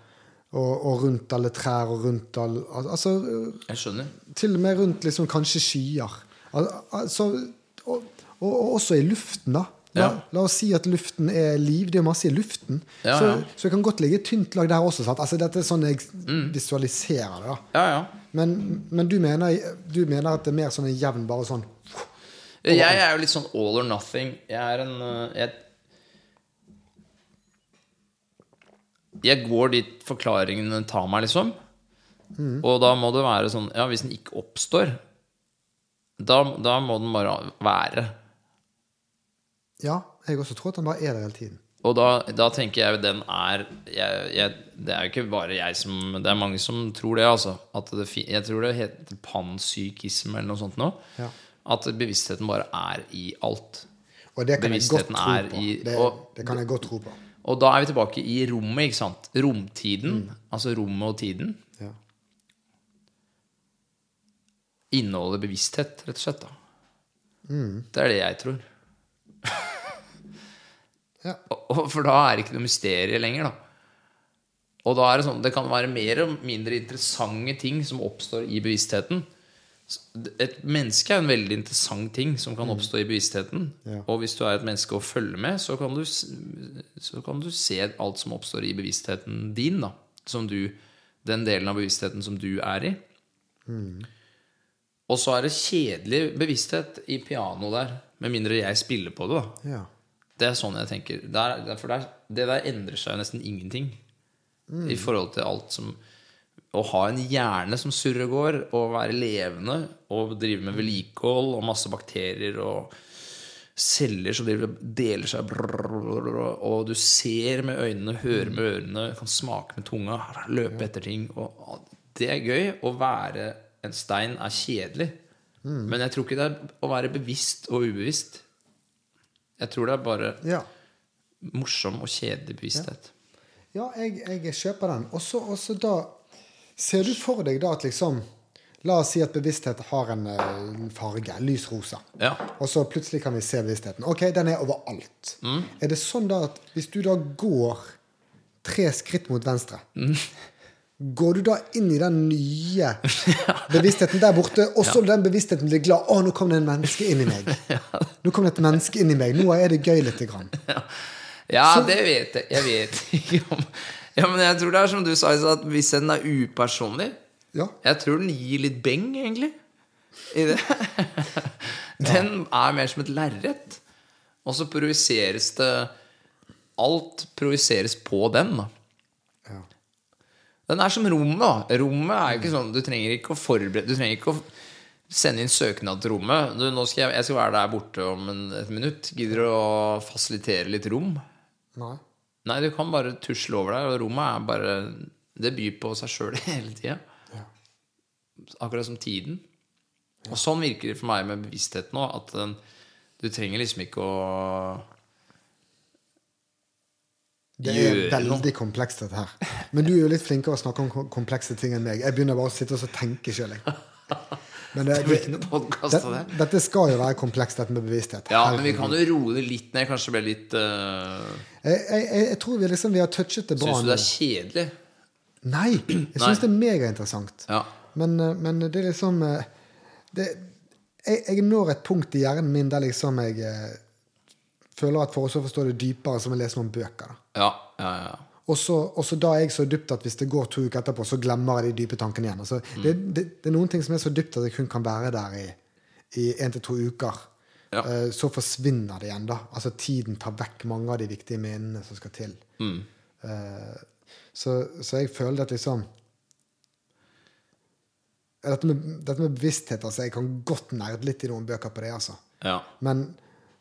Speaker 1: og, og rundt alle trær, og rundt all al- Altså
Speaker 2: Jeg skjønner.
Speaker 1: til og med rundt liksom kanskje skyer. Al- Altså, og, og, og også i luften, da. La,
Speaker 2: Ja.
Speaker 1: la oss si at luften er liv. Det er jo masse i luften.
Speaker 2: Ja,
Speaker 1: så,
Speaker 2: ja.
Speaker 1: så det kan godt ligge et tynt lag der også. Sant? Altså, dette er sånn jeg
Speaker 2: Mm.
Speaker 1: visualiserer det. da
Speaker 2: Ja, ja.
Speaker 1: men, men du, mener, du mener at det er mer sånn en jevn bare sånn
Speaker 2: Jeg er jo litt sånn all or nothing. Jeg er en øh, jeg, jeg går dit forklaringen tar meg, liksom. Og da må det være sånn Ja, hvis den ikke oppstår, da, da må den bare være.
Speaker 1: Ja, jeg også tror at han bare er der hele tiden.
Speaker 2: Og da, da tenker jeg den er jeg, jeg, Det er jo ikke bare jeg som Det er mange som tror det, altså. At det, fi- jeg tror det heter panpsykisme eller noe sånt nå.
Speaker 1: Ja.
Speaker 2: At bevisstheten bare er i alt.
Speaker 1: Og det kan jeg godt
Speaker 2: Bevisstheten
Speaker 1: tro
Speaker 2: er
Speaker 1: på.
Speaker 2: i-
Speaker 1: det,
Speaker 2: og-
Speaker 1: det kan jeg godt tro på.
Speaker 2: Og da er vi tilbake i rommet, ikke sant? Romtiden, altså rommet og tiden,
Speaker 1: Ja.
Speaker 2: inneholder bevissthet, rett og slett. da.
Speaker 1: Mm.
Speaker 2: Det er det jeg tror.
Speaker 1: Ja.
Speaker 2: Og- og- For da er det ikke noe mysterium lenger, da. Og da er det sånn, det kan være mer og mindre interessante ting som oppstår i bevisstheten. S- Et menneske er en veldig interessant ting som kan oppstå i bevisstheten.
Speaker 1: Mm. Ja.
Speaker 2: Og hvis du er et menneske å følge med, så kan du, s- så kan du se alt som oppstår i bevisstheten din. da, som du, Den delen av bevisstheten som du er i. Og så er det kjedelig bevissthet i piano der. Med mindre jeg spiller på det, da.
Speaker 1: ja.
Speaker 2: Det er sånn jeg tenker. Der, der- for der, det der endrer seg jo nesten ingenting i forhold til alt som Å ha en hjerne som surrer og går, og være levende og drive med vedlikehold og masse bakterier og celler som driver, deler seg brrrr, Og du ser med øynene, hører med ørene, kan smake med tunga, løpe etter ting. Og det er gøy. Å være en stein er kjedelig. Men jeg tror ikke det er å være bevisst og ubevisst. Jeg tror det er bare
Speaker 1: Ja.
Speaker 2: morsom og kjedelig bevissthet.
Speaker 1: Ja, jeg, jeg kjøper den. Og så- og så da Ser du for deg da at liksom La oss si at bevissthet har en eh, farge. Lys rosa.
Speaker 2: Ja.
Speaker 1: Og så plutselig kan vi se bevisstheten. Ok, den er overalt. Er det sånn da at hvis du da går tre skritt mot venstre Går du da inn i den nye bevisstheten der borte, og så den bevisstheten blir glad? 'Å, nå kom det en menneske inn i meg.' Nå kom det et menneske inn i meg. Nå er det gøy lite grann.
Speaker 2: Ja, det vet jeg. Jeg vet ikke om Ja, men jeg tror det er som du sa i stad, at hvis den er upersonlig
Speaker 1: Ja.
Speaker 2: Jeg tror den gir litt beng, egentlig. I det. Den er mer som et lerret. Og så projiseres det Alt projiseres på den, da.
Speaker 1: ja.
Speaker 2: Den er som rommet, da. Rommet er jo ikke sånn Du trenger ikke å forberede Du trenger ikke å sende inn søknad til rommet. Du, nå skal jeg, jeg skal være der borte om en, et minutt. Gidder du å fasilitere litt rom?
Speaker 1: Nei.
Speaker 2: Nei, du kan bare tusle over der, og rommet er bare Det byr på seg sjøl hele tida.
Speaker 1: Ja.
Speaker 2: Akkurat som tiden. Og sånn virker det for meg med bevissthet nå, at den, du trenger liksom ikke å
Speaker 1: Det er
Speaker 2: gjøre noe.
Speaker 1: veldig komplekst, dette her. Men du er jo litt flinkere å snakke om kom- komplekse ting enn meg. Jeg begynner bare å sitte og så tenke sjøl, jeg. Men det,
Speaker 2: Det blir ikke noe podcast av det.
Speaker 1: det- dette skal jo være komplekst, dette med bevissthet.
Speaker 2: Ja, men vi kan jo roe det litt ned, kanskje bli litt uh,
Speaker 1: Jeg, jeg, jeg- jeg tror vi liksom vi har touchet det bra
Speaker 2: Syns du
Speaker 1: nå.
Speaker 2: det er kjedelig?
Speaker 1: Nei! Jeg syns det er megainteressant.
Speaker 2: Ja.
Speaker 1: Men, eh, men det er liksom eh, det, jeg, jeg når et punkt i hjernen min der liksom jeg eh, føler at for å så forstå det dypere, så må jeg lese noen bøker. da.
Speaker 2: Ja, ja, ja.
Speaker 1: Og så, og så da er jeg så dypt at hvis det går to uker etterpå, så glemmer jeg de dype tankene igjen. Altså, det, det, det er noen ting som er så dypt at jeg kun kan være der i, i en til to uker.
Speaker 2: Ja.
Speaker 1: Eh, så forsvinner det igjen, da. Altså tiden tar vekk mange av de viktige minnene som skal til. Eh, så, så jeg føler at liksom dette med, dette med bevissthet, altså. Jeg kan godt nerde litt i noen bøker på det, altså.
Speaker 2: ja.
Speaker 1: Men,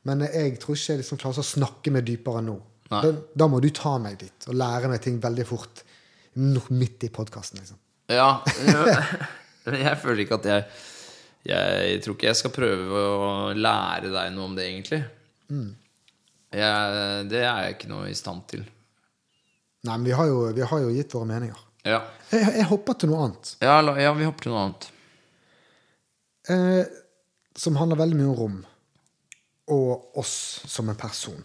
Speaker 1: men jeg tror ikke jeg liksom klarer å snakke meg dypere nå.
Speaker 2: Nei.
Speaker 1: Da, da må du ta meg dit og lære meg ting veldig fort. Nå, midt i podkasten, liksom.
Speaker 2: Ja. Men jeg føler ikke at jeg Jeg tror ikke jeg skal prøve å lære deg noe om det, egentlig. Mm. Jeg, det er jeg ikke noe i stand til.
Speaker 1: Nei, men vi har jo, vi har jo gitt våre meninger.
Speaker 2: Ja,
Speaker 1: Jeg, jeg hopper til noe annet,
Speaker 2: ja, la, ja vi hopper til noe annet.
Speaker 1: eh, som handler veldig mye om rom og oss som en person.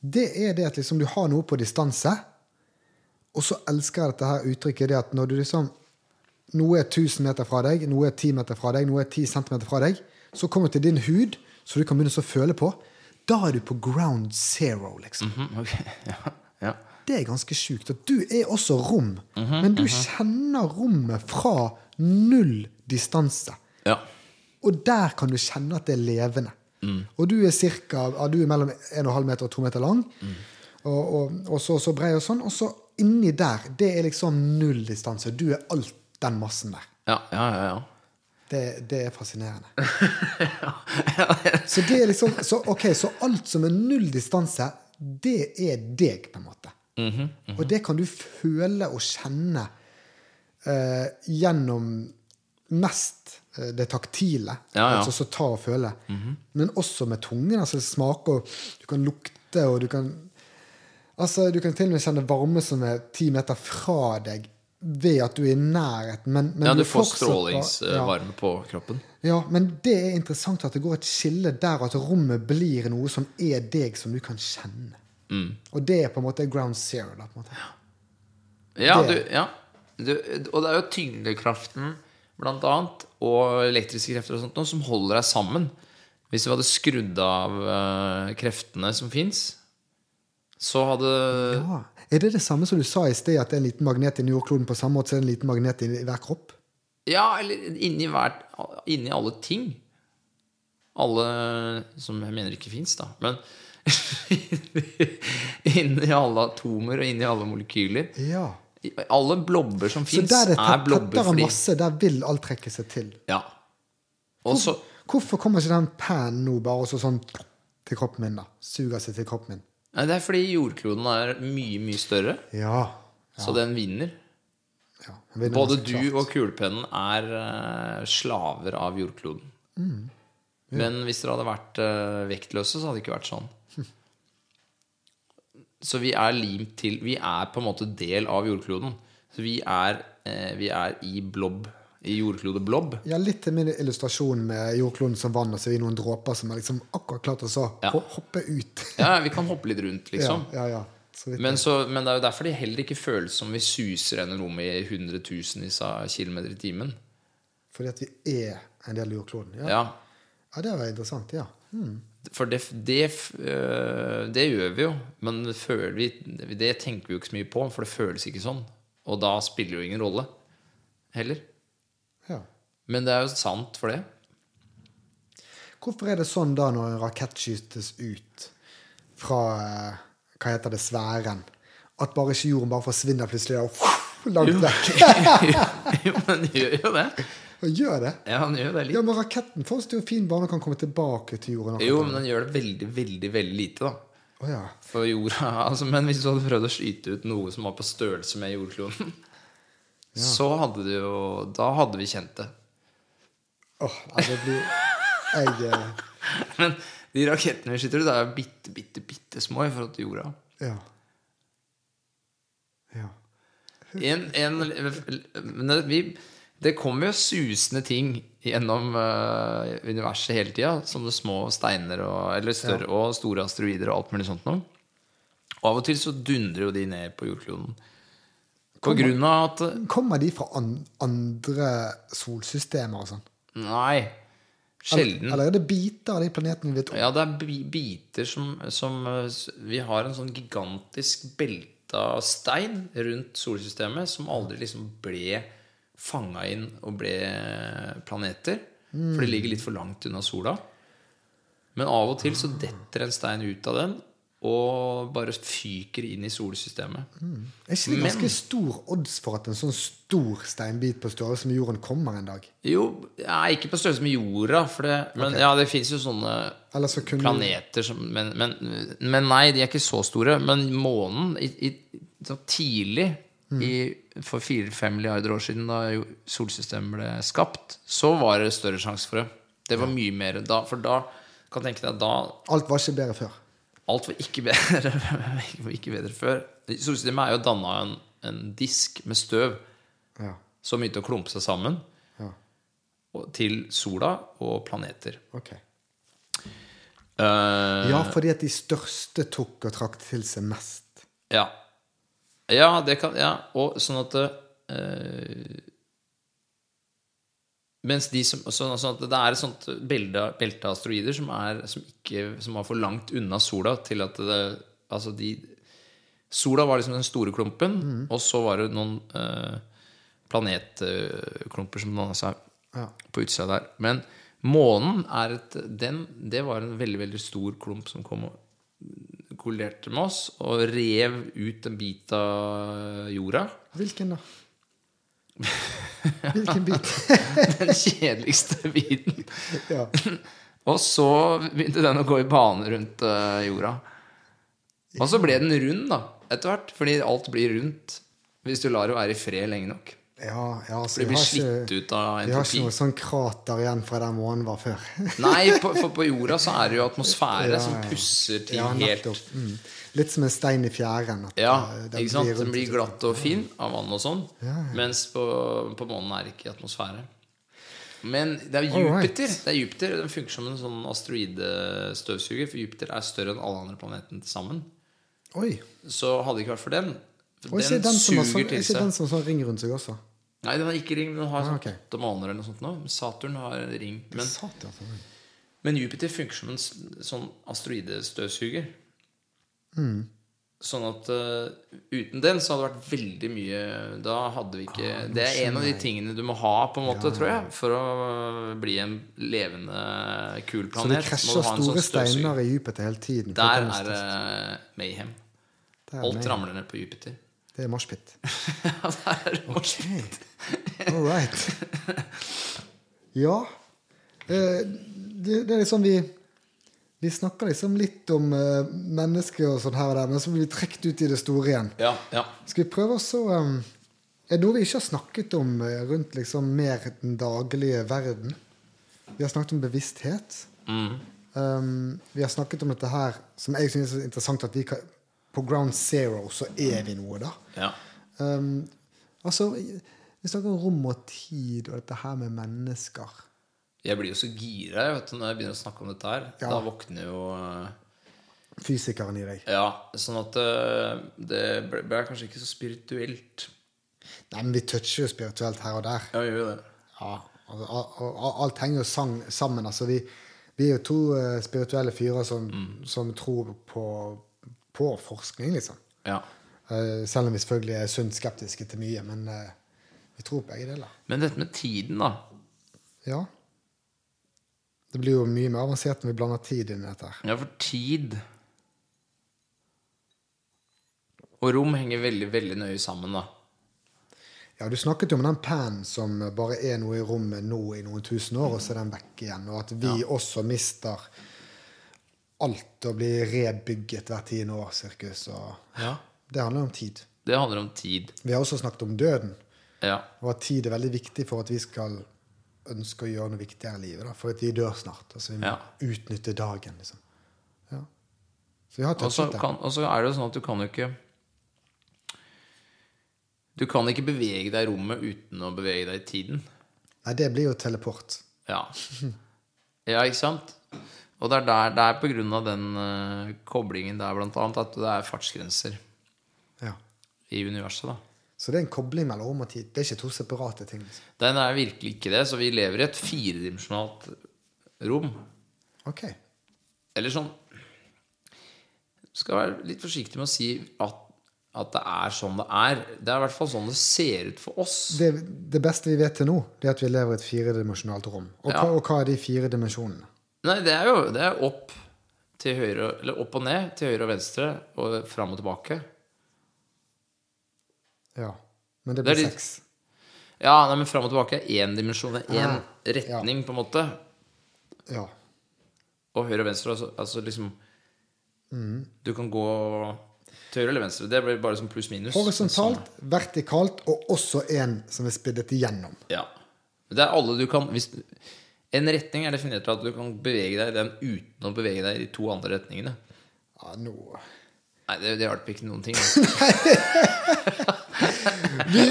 Speaker 1: Det er det at liksom du har noe på distanse, og så elsker jeg dette her uttrykket det at når du liksom Noe er 1000 meter fra deg, noe er 10 meter fra deg, noe er 10 centimeter fra deg. Så kommer du til din hud, så du kan begynne å føle på. Da er du på ground zero, liksom.
Speaker 2: Mhm, ok. ja, ja.
Speaker 1: Det er ganske sjukt. At du er også rom, men du kjenner rommet fra null distanse.
Speaker 2: ja.
Speaker 1: Og der kan du kjenne at det er levende. Og du er, cirka, ja, du er mellom 1,5 meter og 2 meter lang, og, og, og så, så brei og sånn. Og så inni der, det er liksom null distanse. Du er alt den massen der.
Speaker 2: Ja, ja, ja, ja.
Speaker 1: Det, det er fascinerende. Så det er liksom så, Ok, så alt som er null distanse, det er deg, på en måte.
Speaker 2: Mhm,
Speaker 1: Og det kan du føle og kjenne eh, gjennom mest eh, det taktile,
Speaker 2: Ja, Mhm. ja.
Speaker 1: altså så ta og føle, men også med tungen. Altså smake, og du kan lukte, og du kan Altså, Du kan til og med kjenne varme som er ti meter fra deg, ved at du er i nærheten, men, men
Speaker 2: ja du
Speaker 1: er
Speaker 2: får
Speaker 1: fortsatt bare- ja.
Speaker 2: strålingsvarme på kroppen.
Speaker 1: Ja, men det er interessant at det går et skille der at rommet blir noe som er deg, som du kan kjenne.
Speaker 2: Mm.
Speaker 1: Og det er på en måte ground zero. Da, på en måte.
Speaker 2: Ja, du,
Speaker 1: Det-
Speaker 2: ja. Du, og det er jo tyngdekraften blant annet, og elektriske krefter og sånt noe, som holder deg sammen. Hvis vi hadde skrudd av eh, kreftene som fins, så hadde
Speaker 1: Ja. Ah, Er det det samme som du sa i sted, at det er en liten magnet inni jordkloden på samme måte som det er en liten magnet inni hver kropp?
Speaker 2: Ja, eller inni, hver, inni alle ting. alle Som jeg mener ikke fins, da. Men inni alle atomer og inni alle molekyler
Speaker 1: Ja.
Speaker 2: i- Alle blobber som
Speaker 1: Så
Speaker 2: fins,
Speaker 1: der det
Speaker 2: er
Speaker 1: er
Speaker 2: blobber
Speaker 1: tettere
Speaker 2: fordi
Speaker 1: masse, der vil alt trekke seg til.
Speaker 2: Ja. Og så
Speaker 1: Hvorfor kommer ikke den pennen nå bare også sånn til kroppen min, da? Suger seg til kroppen min.
Speaker 2: Nei, det er fordi jordkloden er mye, mye større,
Speaker 1: Ja.
Speaker 2: så den vinner.
Speaker 1: ja den vinner
Speaker 2: Både
Speaker 1: ganske
Speaker 2: du
Speaker 1: klart.
Speaker 2: og kulepennen er eh, slaver av jordkloden.
Speaker 1: Mm.
Speaker 2: Men hvis dere hadde vært eh, vektløse, så hadde det ikke vært sånn. Så vi er limt til Vi er på en måte del av jordkloden. Så vi er, eh, vi er i blobb. I jordklodeblobb.
Speaker 1: Ja, litt til min illustrasjon med jordkloden som vann, og så er vi noen dråper som er liksom akkurat klart å så
Speaker 2: Ja.
Speaker 1: ho- hoppe ut.
Speaker 2: Ja, vi kan hoppe litt rundt, liksom.
Speaker 1: Ja, ja, ja. Så vidt.
Speaker 2: Men, så, men det er jo derfor det heller ikke føles som vi suser gjennom rommet i hundretusenvis av kilometer i timen.
Speaker 1: Fordi at vi er en del av jordkloden. Ja, ja.
Speaker 2: Ja,
Speaker 1: det var interessant. Ja. Hmm.
Speaker 2: For det, det, øh, det gjør vi jo, men det føler vi, det tenker vi jo ikke så mye på, for det føles ikke sånn. Og da spiller det jo ingen rolle heller.
Speaker 1: ja.
Speaker 2: Men det er jo sant for det.
Speaker 1: Hvorfor er det sånn da når en rakett skytes ut fra eh, hva heter det, sfæren, at bare ikke jorden bare forsvinner plutselig og langt vekk?
Speaker 2: jo, men det gjør jo det.
Speaker 1: Og gjør det?
Speaker 2: Ja, han gjør jo det
Speaker 1: Ja,
Speaker 2: litt.
Speaker 1: men raketten får jo en fin bane og kan komme tilbake til jorden. akkurat.
Speaker 2: Jo, men den gjør det veldig, veldig, veldig lite, da.
Speaker 1: Å ja.
Speaker 2: For jorda altså, Men hvis du hadde prøvd å skyte ut noe som var på størrelse med jordkloden, så hadde det jo Da hadde vi kjent det.
Speaker 1: Åh, nei, det blir Jeg eh,
Speaker 2: Men de rakettene vi skyter ut, er jo bitte, bitte, bitte små i forhold til jorda.
Speaker 1: Ja. Ja.
Speaker 2: en, en, men det- vi, det kommer jo susende ting gjennom eh, universet hele tida. Som det små steiner og, eller større, og store asteroider og alt mulig sånt noe. Og av og til så dundrer jo de ned på jordkloden. På grunn av at
Speaker 1: Kommer de fra an andre solsystemer og sånn?
Speaker 2: Nei. Sjelden.
Speaker 1: Eller er det biter av de planetene vi vet om?
Speaker 2: Ja, det er bi- biter som, som eh, s- Vi har en sånn gigantisk belte av stein rundt solsystemet som aldri liksom ble fanga inn og ble planeter. For det ligger litt for langt unna sola. Men av og til så detter en stein ut av den og bare fyker inn i solsystemet.
Speaker 1: Er ikke det ganske stor odds for at en sånn stor steinbit på størrelse med jorden kommer en dag?
Speaker 2: Jo, nei, ikke på størrelse med jorda, for det, men ja, det fins jo sånne
Speaker 1: Eller så kunne
Speaker 2: planeter som men, men, men nei, de er ikke så store. Men månen i, i, så Tidlig
Speaker 1: Mm.
Speaker 2: i, for 4-5 milliarder år siden, da jo solsystemet ble skapt, så var det større sjanse for det. Det var mye mer da. For da kan jeg tenke deg da
Speaker 1: Alt var ikke bedre før.
Speaker 2: Alt var ikke bedre, var ikke bedre før. Solsystemet er jo danna en, en disk med støv
Speaker 1: Ja.
Speaker 2: som begynte å klumpe seg sammen
Speaker 1: Ja.
Speaker 2: og- til sola og planeter.
Speaker 1: Ok.
Speaker 2: Eh,
Speaker 1: Ja, fordi at de største tok og trakk til seg mest.
Speaker 2: Ja. Ja, det kan Ja, og sånn at eh, Mens de som sånn, sånn at Det er et sånt belte, belte av asteroider som er, som, ikke, som var for langt unna sola til at det Altså, de Sola var liksom den store klumpen, og så var det noen eh, planetklumper som danna seg
Speaker 1: Ja.
Speaker 2: på utsida der. Men månen er et den, Det var en veldig, veldig stor klump som kom og kolliderte med oss og rev ut en bit av jorda.
Speaker 1: Hvilken da? Hvilken bit?
Speaker 2: Den kjedeligste biten.
Speaker 1: ja.
Speaker 2: Og så begynte den å gå i bane rundt eh, jorda. Og så ble den rund, da, etter hvert. Fordi alt blir rundt hvis du lar det være i fred lenge nok.
Speaker 1: Ja, ja, altså,
Speaker 2: Det
Speaker 1: vi
Speaker 2: blir
Speaker 1: har
Speaker 2: slitt
Speaker 1: ikke,
Speaker 2: ut av
Speaker 1: vi har ikke
Speaker 2: entropi.
Speaker 1: noe sånn krater igjen fra der månen var før.
Speaker 2: Nei, på, for på jorda så er det jo atmosfære som
Speaker 1: ja.
Speaker 2: pusser ting
Speaker 1: Ja,
Speaker 2: helt
Speaker 1: nettopp. Mm. Litt som en stein i fjæren. at,
Speaker 2: Ja,
Speaker 1: eh, den
Speaker 2: ikke sant?
Speaker 1: blir
Speaker 2: Den
Speaker 1: rundt-
Speaker 2: blir glatt og fin av vann og sånn.
Speaker 1: Ja, ja.
Speaker 2: Mens på, på månen er det ikke atmosfære. Men det er
Speaker 1: Alright.
Speaker 2: Jupiter. Det er Jupiter Den funker som en sånn asteroidestøvsuger, for Jupiter er større enn alle andre planetene til sammen.
Speaker 1: Oi.
Speaker 2: Så hadde det ikke vært for den for
Speaker 1: Og er ikke
Speaker 2: Den,
Speaker 1: den som har
Speaker 2: suger
Speaker 1: sånn, er
Speaker 2: til
Speaker 1: ikke
Speaker 2: seg.
Speaker 1: den som har sånn ring rundt seg også?
Speaker 2: Nei, den har ikke ring. men Den har
Speaker 1: Ah,
Speaker 2: sånn
Speaker 1: ok.
Speaker 2: åtte måneder eller noe sånt nå. Saturn har en ring. Men,
Speaker 1: Satan. altså. Mm.
Speaker 2: men Jupiter funker som en s- sånn asteroidestøvsuger. Sånn at eh, uten den så hadde det vært veldig mye Da hadde vi ikke
Speaker 1: Ah,
Speaker 2: Det er en av de tingene du må ha, på en måte, tror jeg, for å eh, bli en levende, kul
Speaker 1: Så det
Speaker 2: planet. må
Speaker 1: krasjer
Speaker 2: du ha en sånn
Speaker 1: store
Speaker 2: støvsuger.
Speaker 1: steiner i Jupiter hele tiden.
Speaker 2: Der
Speaker 1: Folkens,
Speaker 2: er det mayhem.
Speaker 1: det er
Speaker 2: Alt
Speaker 1: meg.
Speaker 2: ramler ned på Jupiter.
Speaker 1: Det er moshpit.
Speaker 2: Ja, der er det
Speaker 1: Ok. All right. Ja. Eh, Det, det er liksom vi Vi snakker liksom litt om eh, mennesker og sånn her og der, men så blir vi trukket ut i det store igjen.
Speaker 2: Ja, ja.
Speaker 1: Skal vi prøve oss å eh, Er det noe vi ikke har snakket om eh, rundt liksom mer den daglige verden? Vi har snakket om bevissthet. Um, vi har snakket om dette her som jeg synes er interessant at vi kan På ground zero så er vi noe, da.
Speaker 2: ja.
Speaker 1: Um, altså, vi snakker om rom og tid og dette her med mennesker.
Speaker 2: Jeg blir jo så gira jeg, vet du, når jeg begynner å snakke om dette her.
Speaker 1: Ja.
Speaker 2: Da våkner jo eh,
Speaker 1: Fysikeren i deg.
Speaker 2: Ja, sånn at eh, det ble, ble kanskje ikke så spirituelt.
Speaker 1: Nei, men vi toucher jo spirituelt her og der.
Speaker 2: Ja, gjør jo det.
Speaker 1: Ja, altså, al- al- Alt henger jo sang, sammen. Altså, vi, vi er jo to eh, spirituelle fyrer som, som tror på, på forskning, liksom.
Speaker 2: Ja.
Speaker 1: Eh, selv om vi selvfølgelig er sunt skeptiske til mye, men eh, vi tror på begge deler.
Speaker 2: Men dette med tiden, da.
Speaker 1: Ja. Det blir jo mye mer avansert når vi blander tid inn i dette. her.
Speaker 2: Ja, for tid Og rom henger veldig, veldig nøye sammen, da.
Speaker 1: Ja, Du snakket jo om den pennen som bare er noe i rommet nå i noen tusen år, og så er den vekk igjen. Og at vi også mister alt og blir rebygget hvert tiende år, sirkus. Og
Speaker 2: Ja.
Speaker 1: det handler om tid.
Speaker 2: Det handler om tid.
Speaker 1: Vi har også snakket om døden,
Speaker 2: Ja.
Speaker 1: og at tid er veldig viktig for at vi skal ønske å gjøre noe viktigere i livet. Da, for at vi dør snart. Altså vi må
Speaker 2: Ja.
Speaker 1: utnytte dagen, liksom. Ja. Så vi har
Speaker 2: Og så
Speaker 1: touchet det.
Speaker 2: kan- og så er det jo sånn at du kan jo ikke Du kan ikke bevege deg i rommet uten å bevege deg i tiden.
Speaker 1: Nei, det blir jo teleport.
Speaker 2: Ja, ja ikke sant? Og det er, der, det er på grunn av den eh, koblingen der blant annet at det er fartsgrenser
Speaker 1: Ja.
Speaker 2: i universet. da.
Speaker 1: Så det er en kobling mellom rom og tid. Det er ikke to separate ting. Liksom.
Speaker 2: Den er virkelig ikke det, så vi lever i et firedimensjonalt rom.
Speaker 1: Ok.
Speaker 2: Eller sånn Skal være litt forsiktig med å si at, at det er sånn det er. Det er i hvert fall sånn det ser ut for oss.
Speaker 1: det, det beste vi vet til nå, det er at vi lever i et firedimensjonalt rom. Og,
Speaker 2: Ja.
Speaker 1: hva, og hva er de fire dimensjonene?
Speaker 2: Nei, det er jo det er opp til høyre Eller opp og ned, til høyre og venstre, og fram og tilbake.
Speaker 1: Ja. Men det
Speaker 2: Det
Speaker 1: blir
Speaker 2: er de-
Speaker 1: seks.
Speaker 2: Ja, nei, men fram og tilbake er én dimensjon, det
Speaker 1: Ah,
Speaker 2: er én retning, på en måte.
Speaker 1: Ja.
Speaker 2: Og høyre og venstre, altså, altså liksom
Speaker 1: Mm.
Speaker 2: Du kan gå til høyre eller venstre. Det blir bare som pluss-minus.
Speaker 1: Horisontalt, vertikalt og også en som er spiddet igjennom.
Speaker 2: Ja. Det er alle du kan hvis, En retning er definert av at du kan bevege deg i den uten å bevege deg i de to andre retningene.
Speaker 1: Ja, nå
Speaker 2: Nei, det, det hjalp ikke noen ting. altså.
Speaker 1: Vi,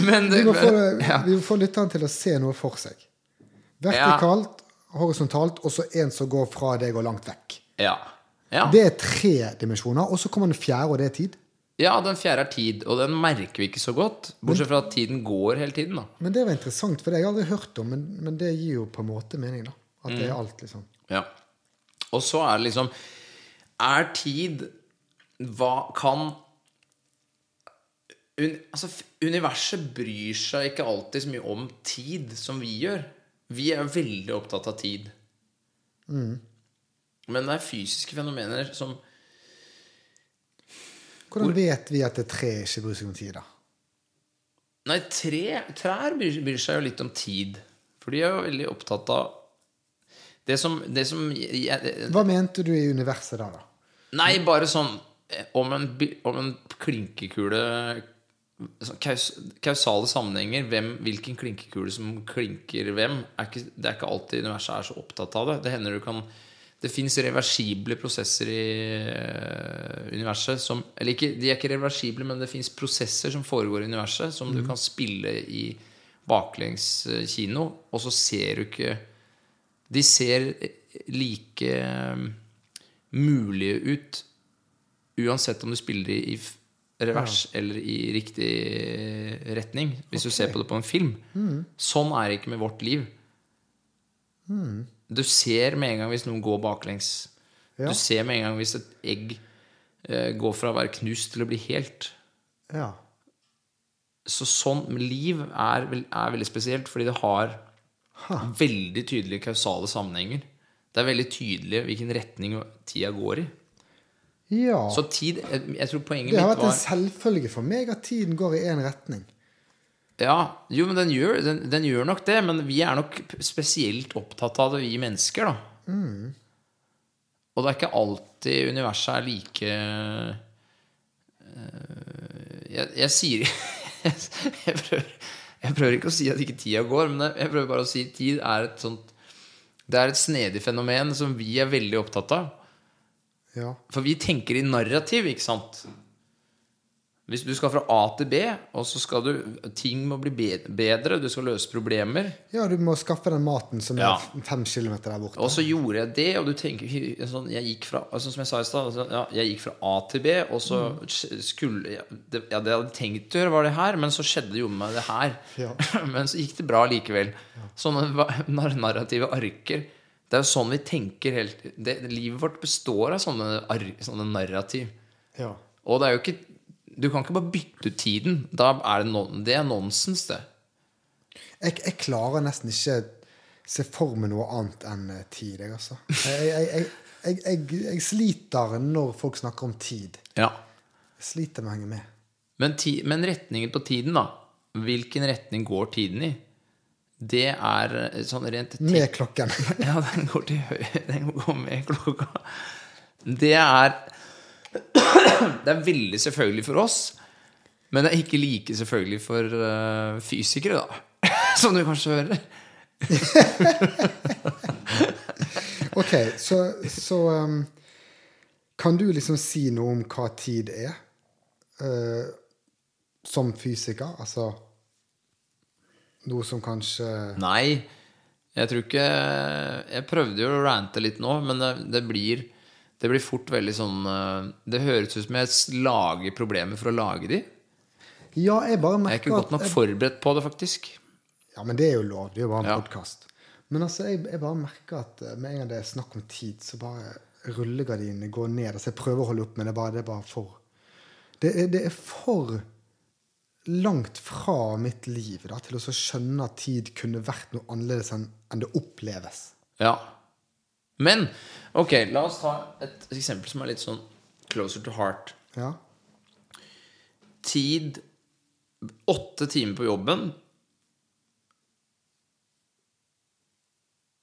Speaker 2: Men
Speaker 1: vi,
Speaker 2: det-
Speaker 1: må få, vi må få lytteren til å se noe for seg. Vertikalt, horisontalt og så en som går fra deg og langt vekk.
Speaker 2: Ja. ja.
Speaker 1: Det er tre dimensjoner. Og så kommer den fjerde, og det er tid.
Speaker 2: Ja, den fjerde er tid, og den merker vi ikke så godt. Bortsett fra at tiden går hele tiden, da.
Speaker 1: Men det var interessant, for det har jeg aldri hørt om. Men, men det gir jo på en måte mening, da. At
Speaker 2: Mm.
Speaker 1: det er alt, liksom.
Speaker 2: Ja. Og så er det liksom Er tid Hva kan un, Altså, f- universet bryr seg ikke alltid så mye om tid som vi gjør. Vi er jo veldig opptatt av tid. Men det er fysiske fenomener som
Speaker 1: Hvordan vet vi at det er tre ikke bryr seg om tid, da?
Speaker 2: Nei, tre, trær bryr, bryr seg jo litt om tid. For de er jo veldig opptatt av det som, det som jeg,
Speaker 1: Hva mente du i universet da, da?
Speaker 2: Nei, bare sånn eh, Om en, bi- om en klinkekule sånn kaus, Kausale sammenhenger. Hvem, hvilken klinkekule som klinker hvem. Er ikke, det er ikke alltid universet er så opptatt av det. Det hender du kan Det fins reversible prosesser i eh, universet som Eller ikke, de er ikke reversible, men det fins prosesser som foregår i universet, som du kan spille i baklengs eh, kino, og så ser du ikke de ser like eh, mulige ut uansett om du spiller i i f- revers eller i riktig eh, retning. Hvis du ser på det på en film. Sånn er det ikke med vårt liv. Du ser med en gang hvis noen går baklengs.
Speaker 1: Ja.
Speaker 2: Du ser med en gang hvis et egg eh, gå fra å være knust til å bli helt.
Speaker 1: Ja.
Speaker 2: Så sånn liv er, vel- er veldig spesielt, fordi det har veldig tydelige kausale sammenhenger. Det er veldig tydelig hvilken retning tida går i.
Speaker 1: ja.
Speaker 2: Så tid Jeg, jeg tror poenget
Speaker 1: Det har
Speaker 2: mitt
Speaker 1: vært en
Speaker 2: var
Speaker 1: selvfølge for meg at tiden går i én retning.
Speaker 2: Ja, jo, men den gjør, den, den gjør nok det. Men vi er nok spesielt opptatt av det, vi mennesker, da. Og det er ikke alltid universet er like eh, jeg, jeg sier jeg prøver, jeg prøver ikke å si at ikke tida går, men jeg prøver bare å si at tid er et sånt Det er et snedig fenomen som vi er veldig opptatt av.
Speaker 1: Ja.
Speaker 2: For vi tenker i narrativ, ikke sant? Hvis du skal fra A til B, og så skal du Ting må bli be- bedre, du skal løse problemer.
Speaker 1: ja, du må skaffe den maten som
Speaker 2: Ja.
Speaker 1: er fem kilometer der borte.
Speaker 2: Og så gjorde jeg det, og du tenker sånn, Jeg gikk fra altså, som jeg sa i stad, altså, ja, jeg gikk fra A til B, og så sk- skulle ja, det, ja, det jeg hadde tenkt å gjøre, var det her, men så skjedde jo med meg det her. men så gikk det bra likevel. Sånne va- nar- narrative arker. Det er jo sånn vi tenker helt det, Livet vårt består av sånne, ark- sånne narrativ.
Speaker 1: Ja.
Speaker 2: Og det er jo ikke Du kan ikke bare bytte ut tiden. Da er det, non, det er nonsens, det.
Speaker 1: Jeg, jeg klarer nesten ikke se for meg noe annet enn eh, tid, jeg, altså. Jeg, jeg, jeg, jeg, jeg, jeg sliter når folk snakker om tid. Jeg sliter med å henge med.
Speaker 2: Men, ti, men retningen på tiden, da. Hvilken retning går tiden i? Det er eh, sånn rent te-
Speaker 1: Med klokken.
Speaker 2: Ja, den går til høyre. Den går med klokka. Det er Det er veldig selvfølgelig for oss, men det er ikke like selvfølgelig for eh, fysikere, da. Som du kanskje hører.
Speaker 1: Ok, så, så um, kan du liksom si noe om hva tid er? Eh, som fysiker? Altså noe som kanskje
Speaker 2: Nei, jeg tror ikke Jeg prøvde jo å rante litt nå, men det, det blir det blir fort veldig sånn eh, Det høres ut som jeg s- lager problemer for å lage de.
Speaker 1: Ja, jeg bare
Speaker 2: Jeg er ikke
Speaker 1: merker
Speaker 2: godt nok forberedt på det, faktisk.
Speaker 1: Ja, men det er jo lov. Det er jo bare en
Speaker 2: Ja.
Speaker 1: podkast. Men altså, jeg, jeg bare merker at eh, med en gang det er snakk om tid, så bare rullegardinene går ned. Altså, jeg prøver å holde opp, men det er bare, det er bare for det er, det er for langt fra mitt liv da, til å så skjønne at tid kunne vært noe annerledes enn enn det oppleves.
Speaker 2: Ja. Men ok, la oss ta et eksempel som er litt sånn closer to heart.
Speaker 1: Ja?
Speaker 2: Tid Åtte timer på jobben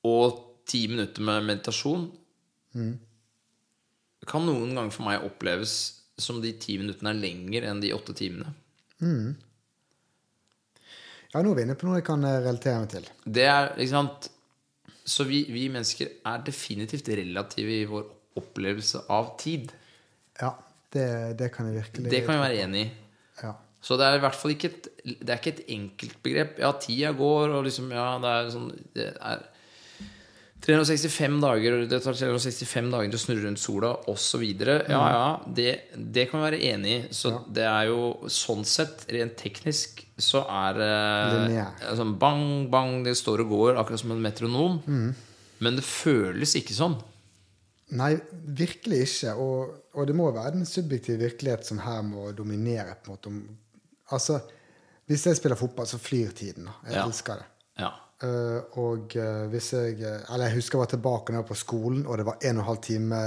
Speaker 2: og ti minutter med meditasjon kan noen ganger for meg oppleves som de ti minuttene er lenger enn de åtte timene.
Speaker 1: ja, nå er vi inne på noe jeg kan eh, relatere meg til.
Speaker 2: Det er, ikke sant Så vi, vi mennesker er definitivt relative i vår opplevelse av tid.
Speaker 1: Ja, det, det kan jeg virkelig
Speaker 2: Det kan vi være enig i.
Speaker 1: ja.
Speaker 2: Så det er i hvert fall ikke et, det er ikke et enkelt begrep. Ja, tida går, og liksom Ja, det er sånn Det er 365 dager, og det tar 365 dager til å snurre rundt sola, osv. Ja, ja, det, det kan vi være enig i. Så det er jo sånn sett, rent teknisk, så er det
Speaker 1: Lineær.
Speaker 2: eh, sånn bang, bang, det står og går, akkurat som en metronom. Men det føles ikke sånn.
Speaker 1: Nei, virkelig ikke. Og, og det må være den subjektive virkelighet som her må dominere. på en måte. Om- Altså, Hvis jeg spiller fotball, så flyr tiden. da. Jeg
Speaker 2: Ja.
Speaker 1: elsker det.
Speaker 2: Ja.
Speaker 1: Eh, og eh, hvis jeg eh, Eller jeg husker jeg var tilbake når jeg var på skolen, og det var en og en halv time,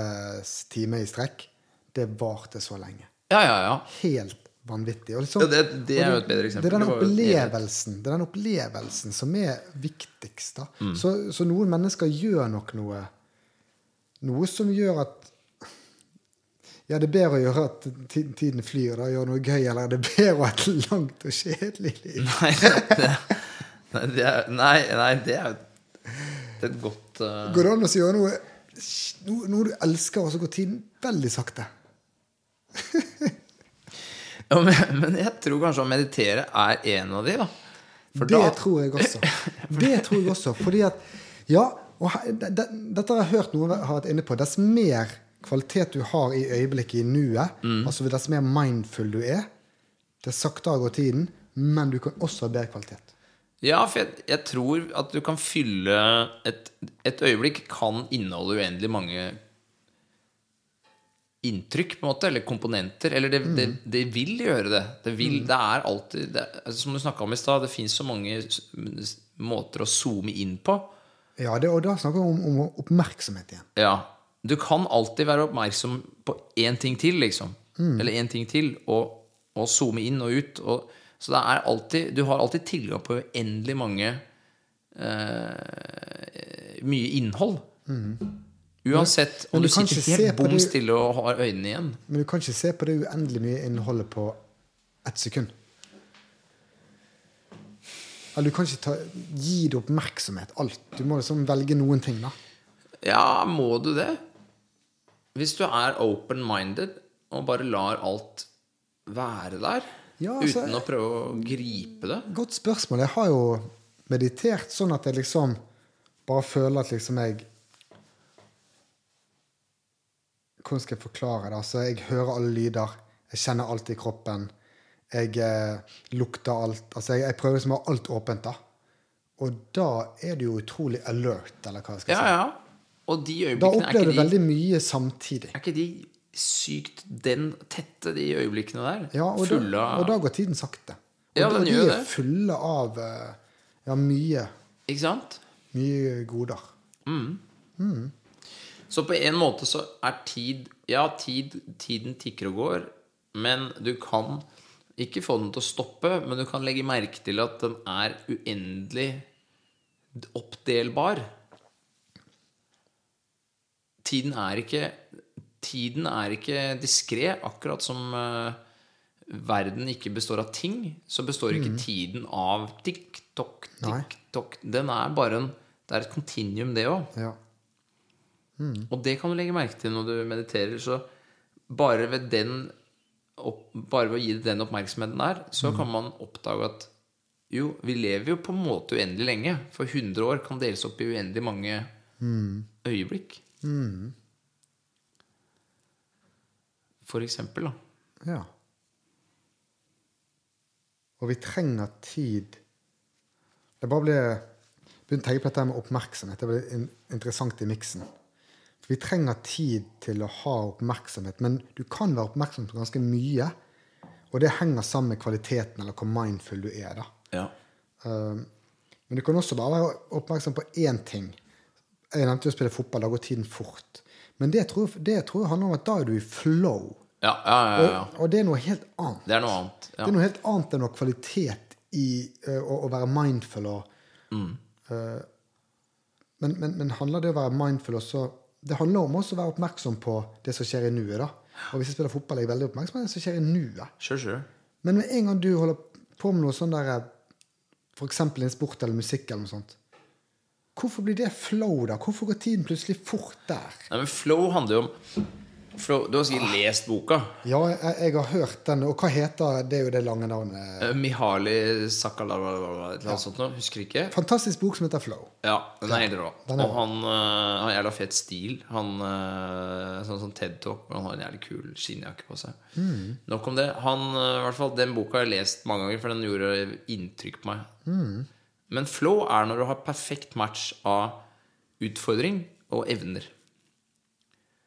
Speaker 1: time i strekk. Det varte så lenge.
Speaker 2: Ja, ja, ja.
Speaker 1: Helt vanvittig. Og liksom-
Speaker 2: Ja, det- det er jo
Speaker 1: og
Speaker 2: et bedre eksempel.
Speaker 1: Det er
Speaker 2: Det
Speaker 1: den
Speaker 2: var jo et
Speaker 1: opplevelsen, det er den opplevelsen som er viktigst. Da.
Speaker 2: Mm.
Speaker 1: Så, så noen mennesker gjør nok noe Noe som gjør at Ja, det er bedre å gjøre at ti- tiden flyr, da, gjøre noe gøy, eller er det bedre å ha et langt og kjedelig liv?
Speaker 2: Nei, det, nei, det er, nei, nei, det er jo det er et godt eh,
Speaker 1: Går det an å gjøre noe, noe, noe du elsker, og så går tiden veldig sakte?
Speaker 2: ja, men, men jeg tror kanskje å meditere er en av de, da. For
Speaker 1: det
Speaker 2: da
Speaker 1: tror jeg også. Det tror jeg også. Fordi at Ja, og he- de- de- dette har jeg hørt noen har vært inne på. Dess mer kvalitet du har i øyeblikket, i nuet,
Speaker 2: Mm.
Speaker 1: altså dess mer mindful du er, dess saktere går tiden, men du kan også ha bedre kvalitet.
Speaker 2: Ja, for jeg, jeg tror at du kan fylle Et, et øyeblikk kan inneholde uendelig mange inntrykk, på en måte, eller komponenter. Eller det, det,
Speaker 1: Mm.
Speaker 2: det vil gjøre det. Det, vil, det er alltid det, er- Som du snakka om i stad, det fins så mange s- s- måter å zoome inn på.
Speaker 1: Ja, det, og da snakker vi om, om oppmerksomhet igjen.
Speaker 2: Ja. Du kan alltid være oppmerksom på én ting til, liksom.
Speaker 1: Mm.
Speaker 2: Eller én ting til, og, og zoome inn og ut. Og, så det er alltid, du har alltid tilgang på uendelig mange eh, Mye innhold. Uansett om
Speaker 1: Mm. men
Speaker 2: du,
Speaker 1: du kan
Speaker 2: sitter
Speaker 1: ikke se
Speaker 2: helt
Speaker 1: på
Speaker 2: bom
Speaker 1: det-
Speaker 2: stille og har øynene igjen.
Speaker 1: Men du kan ikke se på det uendelig mye innholdet på ett sekund. Eller du kan ikke ta, gi det oppmerksomhet, alt. Du må liksom velge noen ting, da.
Speaker 2: Ja, må du det? Hvis du er open-minded og bare lar alt være der,
Speaker 1: Ja, altså-
Speaker 2: uten å prøve å gripe det
Speaker 1: Godt spørsmål. Jeg har jo meditert sånn at jeg liksom bare føler at liksom jeg Hvordan skal jeg forklare det? Altså, jeg hører alle lyder. Jeg kjenner alt i kroppen. Jeg eh, lukter alt. Altså, jeg, jeg prøver liksom å ha alt åpent, da. Og da er du jo utrolig alert, eller hva jeg skal
Speaker 2: Ja,
Speaker 1: si.
Speaker 2: ja. Og de
Speaker 1: liksom. Da
Speaker 2: øyeblikkene er
Speaker 1: opplever du
Speaker 2: ikke de,
Speaker 1: veldig mye samtidig.
Speaker 2: er ikke de sykt den tette, de øyeblikkene der?
Speaker 1: Ja, og,
Speaker 2: Fulle
Speaker 1: da,
Speaker 2: av
Speaker 1: og da går tiden sakte. Og,
Speaker 2: Ja,
Speaker 1: da-
Speaker 2: den
Speaker 1: og de
Speaker 2: gjør
Speaker 1: er
Speaker 2: det.
Speaker 1: fulle av eh, ja, mye,
Speaker 2: Ikke sant?
Speaker 1: mye goder.
Speaker 2: Så på en måte så er tid Ja, tid, tiden tikker og går, men du kan ikke få den til å stoppe, men du kan legge merke til at den er uendelig oppdelbar. Tiden er ikke Tiden er ikke diskré, akkurat som eh, verden ikke består av ting, så består ikke tiden av tikk-tokk,
Speaker 1: Nei.
Speaker 2: tikk-tokk. Den er bare en Det er et kontinuum, det òg.
Speaker 1: Ja.
Speaker 2: Og det kan du legge merke til når du mediterer. Så bare ved, den, opp, bare ved å gi det den oppmerksomheten der, så
Speaker 1: Mm.
Speaker 2: kan man oppdage at jo, vi lever jo på en måte uendelig lenge. For 100 år kan deles opp i uendelig mange
Speaker 1: Mm.
Speaker 2: øyeblikk. For eksempel, da.
Speaker 1: Ja. Og vi trenger tid Jeg bare ble begynte å tenke på dette med oppmerksomhet. Det ble in interessant i miksen. For vi trenger tid til å ha oppmerksomhet, men du kan være oppmerksom på ganske mye. Og det henger sammen med kvaliteten, eller hvor mindful du er. da.
Speaker 2: Ja.
Speaker 1: Um, Men du kan også bare være oppmerksom på én ting. Jeg nevnte jo å spille fotball. Da går tiden fort. Men det tror, det tror jeg handler om at da er du i flow.
Speaker 2: Ja, ja, ja, ja.
Speaker 1: Og, og det er noe helt annet.
Speaker 2: Det er noe annet.
Speaker 1: Det
Speaker 2: Ja.
Speaker 1: er noe helt annet enn å ha kvalitet i eh, å, å være mindful og eh, men, men, men handler det å være mindful også Det handler om også å være oppmerksom på det som skjer i nuet. da. Og hvis jeg spiller fotball, er jeg veldig oppmerksom på det som skjer i nuet.
Speaker 2: Sure, sure.
Speaker 1: Men med en gang du holder på med noe sånn der F.eks. en sport eller musikk eller noe sånt. Hvorfor blir det flow, da? Hvorfor går tiden plutselig fort der?
Speaker 2: Nei, men flow handler jo om flow, Du har sikkert
Speaker 1: Ah.
Speaker 2: lest boka.
Speaker 1: Ja, jeg, jeg har hørt den. Og hva heter det er jo det lange navnet?
Speaker 2: Eh, Mihaly Sakalalalala, et eller annet sånt noe. Husker ikke.
Speaker 1: Fantastisk bok som heter Flow.
Speaker 2: Ja, den er helt rå.
Speaker 1: den er
Speaker 2: Og han øh, har jævla fet stil. Han øh, Sånn som TED Talk. men Han har en jævlig kul skinnjakke på seg.
Speaker 1: Mm.
Speaker 2: Nok om det. Han, øh, i hvert fall, Den boka har jeg lest mange ganger, for den gjorde inntrykk på meg.
Speaker 1: Mm.
Speaker 2: Men flow er når du har perfekt match av utfordring og evner.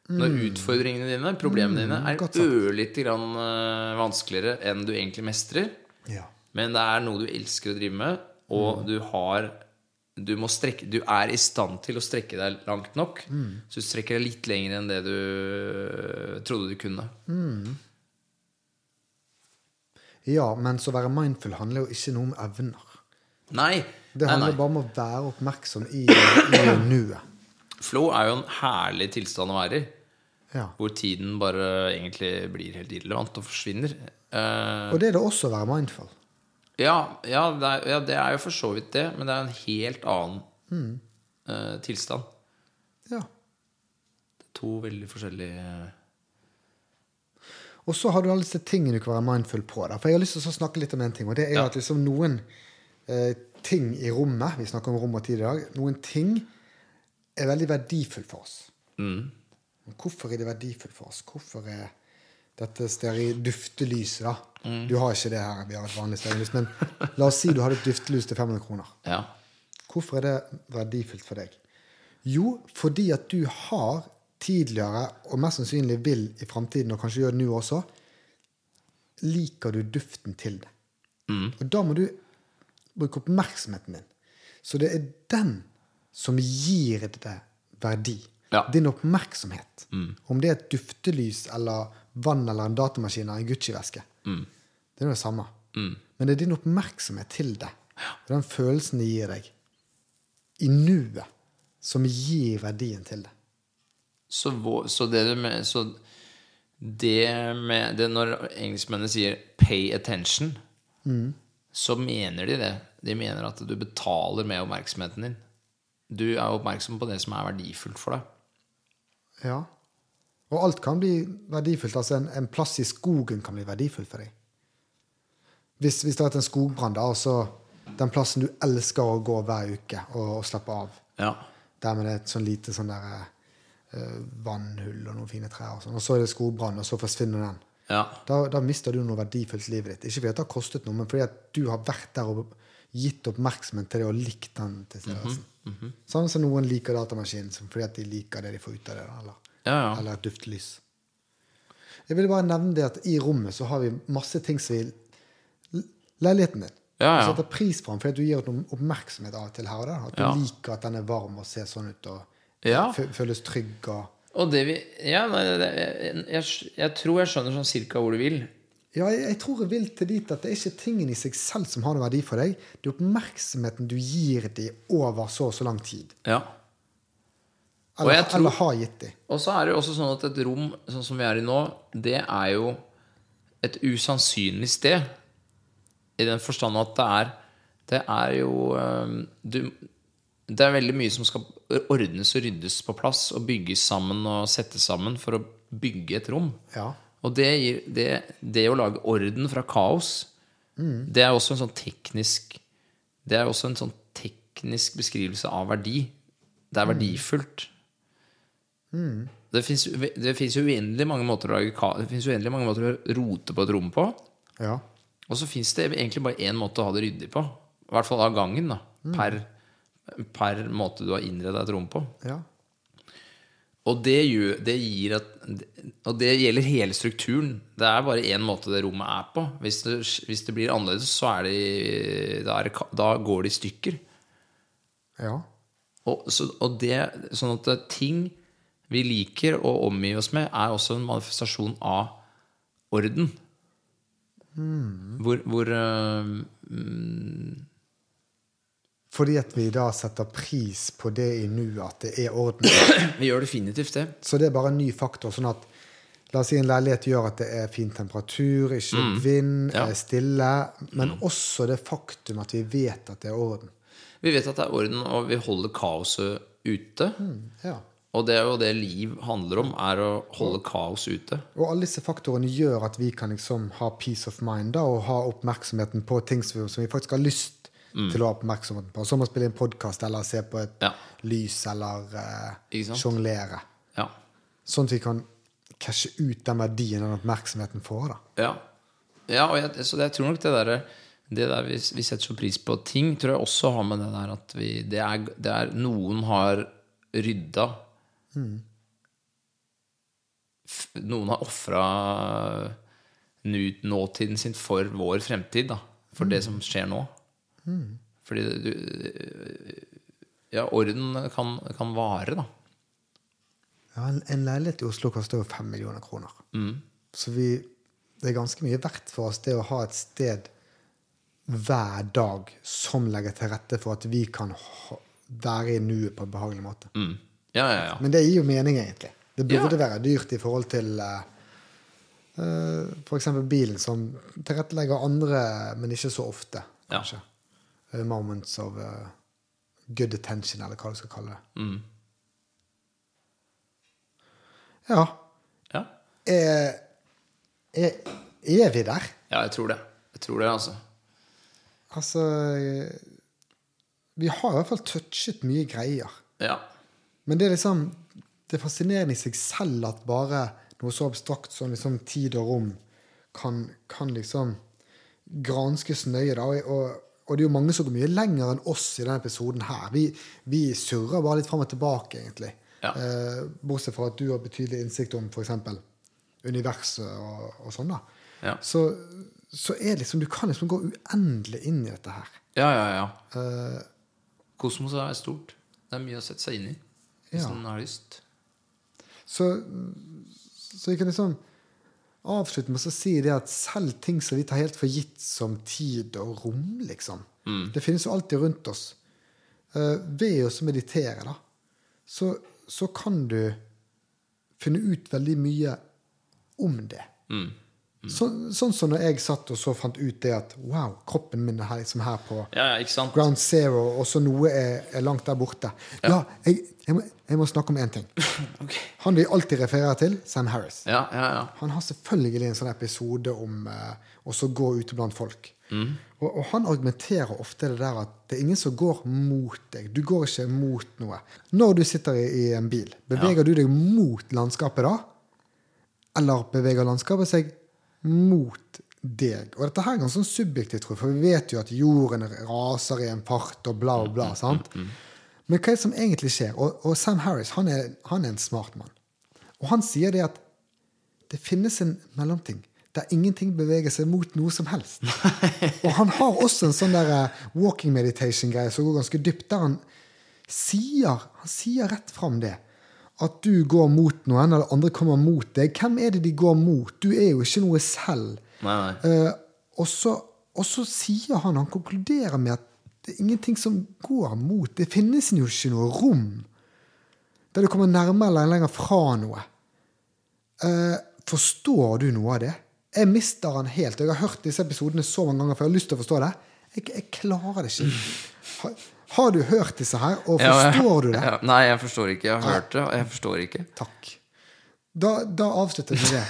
Speaker 2: Når utfordringene dine, problemene dine,
Speaker 1: Mm. godt
Speaker 2: er
Speaker 1: sagt.
Speaker 2: ørlite grann øh, vanskeligere enn du egentlig mestrer.
Speaker 1: Ja.
Speaker 2: Men det er noe du elsker å drive med,
Speaker 1: Mm.
Speaker 2: og du har du, må strekke, du er i stand til å strekke deg langt nok.
Speaker 1: Mm.
Speaker 2: Så du strekker deg litt lenger enn det du øh, trodde du kunne.
Speaker 1: Mm. ja, men så å være mindful handler jo ikke noe om evner.
Speaker 2: Nei,
Speaker 1: Det
Speaker 2: nei,
Speaker 1: handler
Speaker 2: nei.
Speaker 1: bare om å være oppmerksom i, i nuet.
Speaker 2: Flow er jo en herlig tilstand å være i.
Speaker 1: Ja.
Speaker 2: Hvor tiden bare egentlig blir helt irrelevant og forsvinner. Eh,
Speaker 1: Og det er det også å være mindful.
Speaker 2: ja, ja, det er, ja, det er jo for så vidt det, men det er en helt annen
Speaker 1: Mm.
Speaker 2: eh, tilstand.
Speaker 1: Ja.
Speaker 2: To veldig forskjellige
Speaker 1: Og så har du alle disse tingene du kan være mindful på. Da. For jeg har lyst til å snakke litt om en ting, og det er jo at liksom noen eh, ting i rommet Vi snakker om rom og tid i dag. Noen ting er veldig verdifulle for oss. Men Hvorfor er det verdifullt for oss? Hvorfor er dette steri- duftelyset, da? Du har ikke det her, vi har et vanlig stearinlys, men la oss si du hadde et duftelys til 500 kroner.
Speaker 2: Ja.
Speaker 1: Hvorfor er det verdifullt for deg? Jo, fordi at du har tidligere, og mest sannsynlig vil i framtiden, og kanskje gjør det nå også, liker du duften til det. Og da må du bruke oppmerksomheten din. Så det er den som gir det verdi.
Speaker 2: Ja.
Speaker 1: Din oppmerksomhet. Om det er et duftelys eller vann eller en datamaskin eller en Gucci-veske. Det er jo det samme. Men det er din oppmerksomhet til det, og den følelsen det gir deg, i nuet, som gir verdien til det.
Speaker 2: Så, hvor- så det du med, så det med det Når engelskmennene sier 'pay attention', Mm. så mener de det. De mener at du betaler med oppmerksomheten din. Du er oppmerksom på det som er verdifullt for deg.
Speaker 1: Ja. Og alt kan bli verdifullt. Altså en, en plass i skogen kan bli verdifull for deg. Hvis, hvis det har vært en skogbrann, da, og så den plassen du elsker å gå hver uke og, og slappe av
Speaker 2: Ja.
Speaker 1: Der med det et sånn lite sånn der eh, vannhull og noen fine trær og sånn. Og så er det skogbrann, og så forsvinner den.
Speaker 2: ja.
Speaker 1: Da, da mister du noe verdifullt i livet ditt. Ikke fordi at det har kostet noe, men fordi at du har vært der og gitt oppmerksomhet til det og likt den tilstedeværelsen. Sånn som noen liker datamaskinen som fordi at de liker det de får ut av det. Eller,
Speaker 2: Ja, ja.
Speaker 1: eller et duftlys. Jeg ville bare nevne det at i rommet så har vi masse ting som vi Leiligheten din.
Speaker 2: Ja, ja.
Speaker 1: Du setter pris på den fordi at du gir den oppmerksomhet av og til her og der. At du
Speaker 2: Ja.
Speaker 1: liker at den er varm og ser sånn ut og
Speaker 2: Ja.
Speaker 1: fø- føles trygg og
Speaker 2: Og det vi Ja, nei, det- det- jeg, jeg, jeg tror jeg skjønner sånn cirka hvor du vil.
Speaker 1: Ja, jeg, jeg tror jeg vil til dit at det er ikke tingen i seg selv som har noen verdi for deg. Det er oppmerksomheten du gir dem over så og så lang tid.
Speaker 2: Ja. Og
Speaker 1: Eller,
Speaker 2: jeg tror-
Speaker 1: eller har gitt dem.
Speaker 2: Og så er det jo også sånn at et rom sånn som vi er i nå, det er jo et usannsynlig sted. I den forstand at det er Det er jo øhm, du, Det er veldig mye som skal ordnes og ryddes på plass og bygges sammen og settes sammen for å bygge et rom.
Speaker 1: Ja.
Speaker 2: Og det, gir, det, det å lage orden fra kaos, det er også en sånn teknisk Det er også en sånn teknisk beskrivelse av verdi. Det er verdifullt. Det fins det finnes jo uendelig mange måter å lage ka- Det finnes uendelig mange måter å rote på et rom på.
Speaker 1: Ja.
Speaker 2: Og så fins det egentlig bare én måte å ha det ryddig på. I hvert fall av gangen. da per, per måte du har innreda et rom på.
Speaker 1: ja.
Speaker 2: Og det, gjør, det gir at Og det gjelder hele strukturen. Det er bare én måte det rommet er på. Hvis det, hvis det blir annerledes, så er det, da, er det, ka- da går det i stykker.
Speaker 1: Ja.
Speaker 2: Og, så, og det, sånn at det- ting vi liker å omgi oss med, er også en manifestasjon av orden. Hvor, hvor øh, mm,
Speaker 1: Fordi at vi da setter pris på det i nuet, at det er orden.
Speaker 2: Vi gjør definitivt det.
Speaker 1: Så det er bare en ny faktor. sånn at La oss si en leilighet gjør at det er fin temperatur, ikke vind,
Speaker 2: Mm. Ja. Mm.
Speaker 1: er stille. Men også det faktum at vi vet at det er orden.
Speaker 2: Vi vet at det er orden, og vi holder kaoset ute.
Speaker 1: Ja.
Speaker 2: Og det er jo det liv handler om, er å holde kaos ute.
Speaker 1: Og alle disse faktorene gjør at vi kan liksom ha peace of mind da, og ha oppmerksomheten på ting som vi, som vi faktisk har lyst til å ha oppmerksomheten på. Som å spille en podkast eller se på et
Speaker 2: Mm. Ja.
Speaker 1: lys eller eh,
Speaker 2: Ikke sant?
Speaker 1: sjonglere.
Speaker 2: Ja.
Speaker 1: Sånn at vi kan cashe ut den verdien den oppmerksomheten får. da.
Speaker 2: ja. ja og jeg, så jeg tror nok det derre det der vi, vi setter så pris på ting, tror jeg også har med det der at vi Det er, det er noen har rydda F- Noen har ofra nu- nåtiden sin for vår fremtid, da. For det som skjer nå. Fordi du Ja, orden kan, kan vare, da.
Speaker 1: Ja, en, en leilighet i Oslo koster jo fem millioner kroner. Så vi, det er ganske mye verdt for oss det å ha et sted hver dag som legger til rette for at vi kan ha, være i nuet på en behagelig måte.
Speaker 2: Mm. Ja, ja, ja.
Speaker 1: Men det gir jo mening, egentlig. Det burde
Speaker 2: Ja.
Speaker 1: være dyrt i forhold til uh, f.eks. bilen, som tilrettelegger andre, men ikke så ofte,
Speaker 2: Ja.
Speaker 1: kanskje. Eh, moments of eh, good attention, eller hva du skal kalle det.
Speaker 2: Mm.
Speaker 1: Ja.
Speaker 2: Ja,
Speaker 1: Er, er, eh, er vi der?
Speaker 2: ja jeg tror det. Jeg tror det, altså.
Speaker 1: Altså eh, Vi har i hvert fall touchet mye greier.
Speaker 2: Ja.
Speaker 1: Men det er liksom Det er fascinerende i seg selv at bare noe så abstrakt som liksom tid og rom kan, kan liksom granskes nøye. Da. Og, og, og det er jo mange som går mye lenger enn oss i denne episoden her. Vi, vi surrer bare litt fram og tilbake, egentlig.
Speaker 2: Ja.
Speaker 1: Eh, bortsett fra at du har betydelig innsikt om f.eks. universet og, og sånn. da.
Speaker 2: Ja.
Speaker 1: Så, så er liksom, du kan liksom gå uendelig inn i dette her.
Speaker 2: Ja, ja, ja.
Speaker 1: Eh,
Speaker 2: Kosmos er stort. Det er mye å sette seg inn i hvis
Speaker 1: Ja.
Speaker 2: man har lyst.
Speaker 1: så, så jeg kan liksom avslutte med å si det at selv ting som vi tar helt for gitt som tid og rom, liksom Det finnes jo alltid rundt oss. Eh, ved å så meditere, da, så, så kan du finne ut veldig mye om det. Så, sånn som når jeg satt og så fant ut det at wow, kroppen min er her, liksom her på
Speaker 2: Ja, ja, ikke sant?
Speaker 1: Ground zero, og så noe er, er langt der borte. Ja, jeg, jeg, må, jeg må snakke om én ting.
Speaker 2: Ok.
Speaker 1: Han vi alltid refererer til, Sam Harris.
Speaker 2: Ja, ja, ja.
Speaker 1: Han har selvfølgelig en sånn episode om eh, å så gå ute blant folk. Og, og han argumenterer ofte det der at det er ingen som går mot deg. Du går ikke mot noe. Når du sitter i, i en bil, beveger du deg mot landskapet da? Eller beveger landskapet seg mot deg? Og dette her er ganske sånn subjektivt, tror jeg, for vi vet jo at jorden raser i en fart og bla, og bla. sant? Men hva er det som egentlig skjer? Og, og Sam Harris han er, han er en smart mann. Og han sier det at det finnes en mellomting der ingenting beveger seg mot noe som helst. Og han har også en sånn der eh, walking meditation-greie som går ganske dypt, der han sier, han sier rett fram det. At du går mot noen, eller andre kommer mot deg. Hvem er det de går mot? Du er jo ikke noe selv.
Speaker 2: Nei, nei.
Speaker 1: Eh, og, så, og så sier han, han konkluderer med at det er ingenting som går mot Det finnes jo ikke noe rom der du kommer nærmere eller lenger fra noe. Eh, forstår du noe av det? Jeg mister han helt. Jeg har hørt disse episodene så mange ganger, for jeg har lyst til å forstå det. Jeg, jeg klarer det ikke. Har, har du hørt disse her, og
Speaker 2: Ja, ja.
Speaker 1: forstår du det?
Speaker 2: Ja, nei, jeg forstår ikke. Jeg har hørt det, og jeg forstår ikke.
Speaker 1: Takk. Da, da avslutter vi det.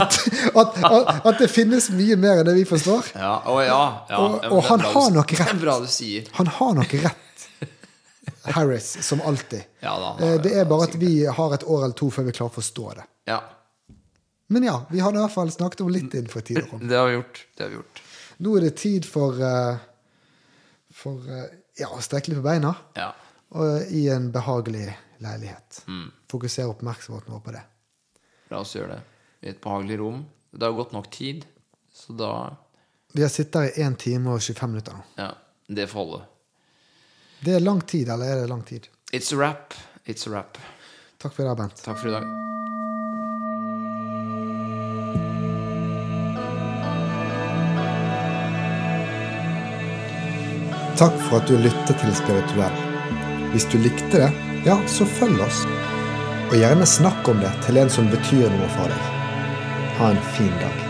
Speaker 1: At, at, at, at det finnes mye mer enn det vi forstår.
Speaker 2: Ja, å ja. ja.
Speaker 1: Og-
Speaker 2: ja, men
Speaker 1: og
Speaker 2: det er
Speaker 1: han
Speaker 2: bra
Speaker 1: har
Speaker 2: du-
Speaker 1: nok
Speaker 2: Det
Speaker 1: rett.
Speaker 2: er bra du sier.
Speaker 1: Han har nok rett, Harris, som alltid.
Speaker 2: Ja, da, han har
Speaker 1: Eh, det er
Speaker 2: det,
Speaker 1: bare at vi har et år eller to før vi klarer å forstå det.
Speaker 2: Ja,
Speaker 1: Men ja, vi har i hvert fall snakket om litt innenfor tid og rom.
Speaker 2: det har vi gjort. Det har vi gjort.
Speaker 1: Nå er det tid for, eh, for eh, ja, å strekke litt på beina
Speaker 2: Ja.
Speaker 1: og i en behagelig leilighet.
Speaker 2: Mm.
Speaker 1: Fokusere oppmerksomheten vår på det.
Speaker 2: La oss gjøre det. I et behagelig rom. Det har gått nok tid, så da
Speaker 1: Vi har sittet i 1 time og 25 minutter nå.
Speaker 2: Ja, det får holde.
Speaker 1: Det er lang tid, eller er det lang tid?
Speaker 2: It's a wrap. It's a wrap.
Speaker 1: Takk for i dag, Bent.
Speaker 2: Takk for i dag.
Speaker 1: Takk for at du lyttet til Spirituell. Hvis du likte det, ja, så følg oss. Og gjerne snakk om det til en som betyr noe for deg. Ha en fin dag.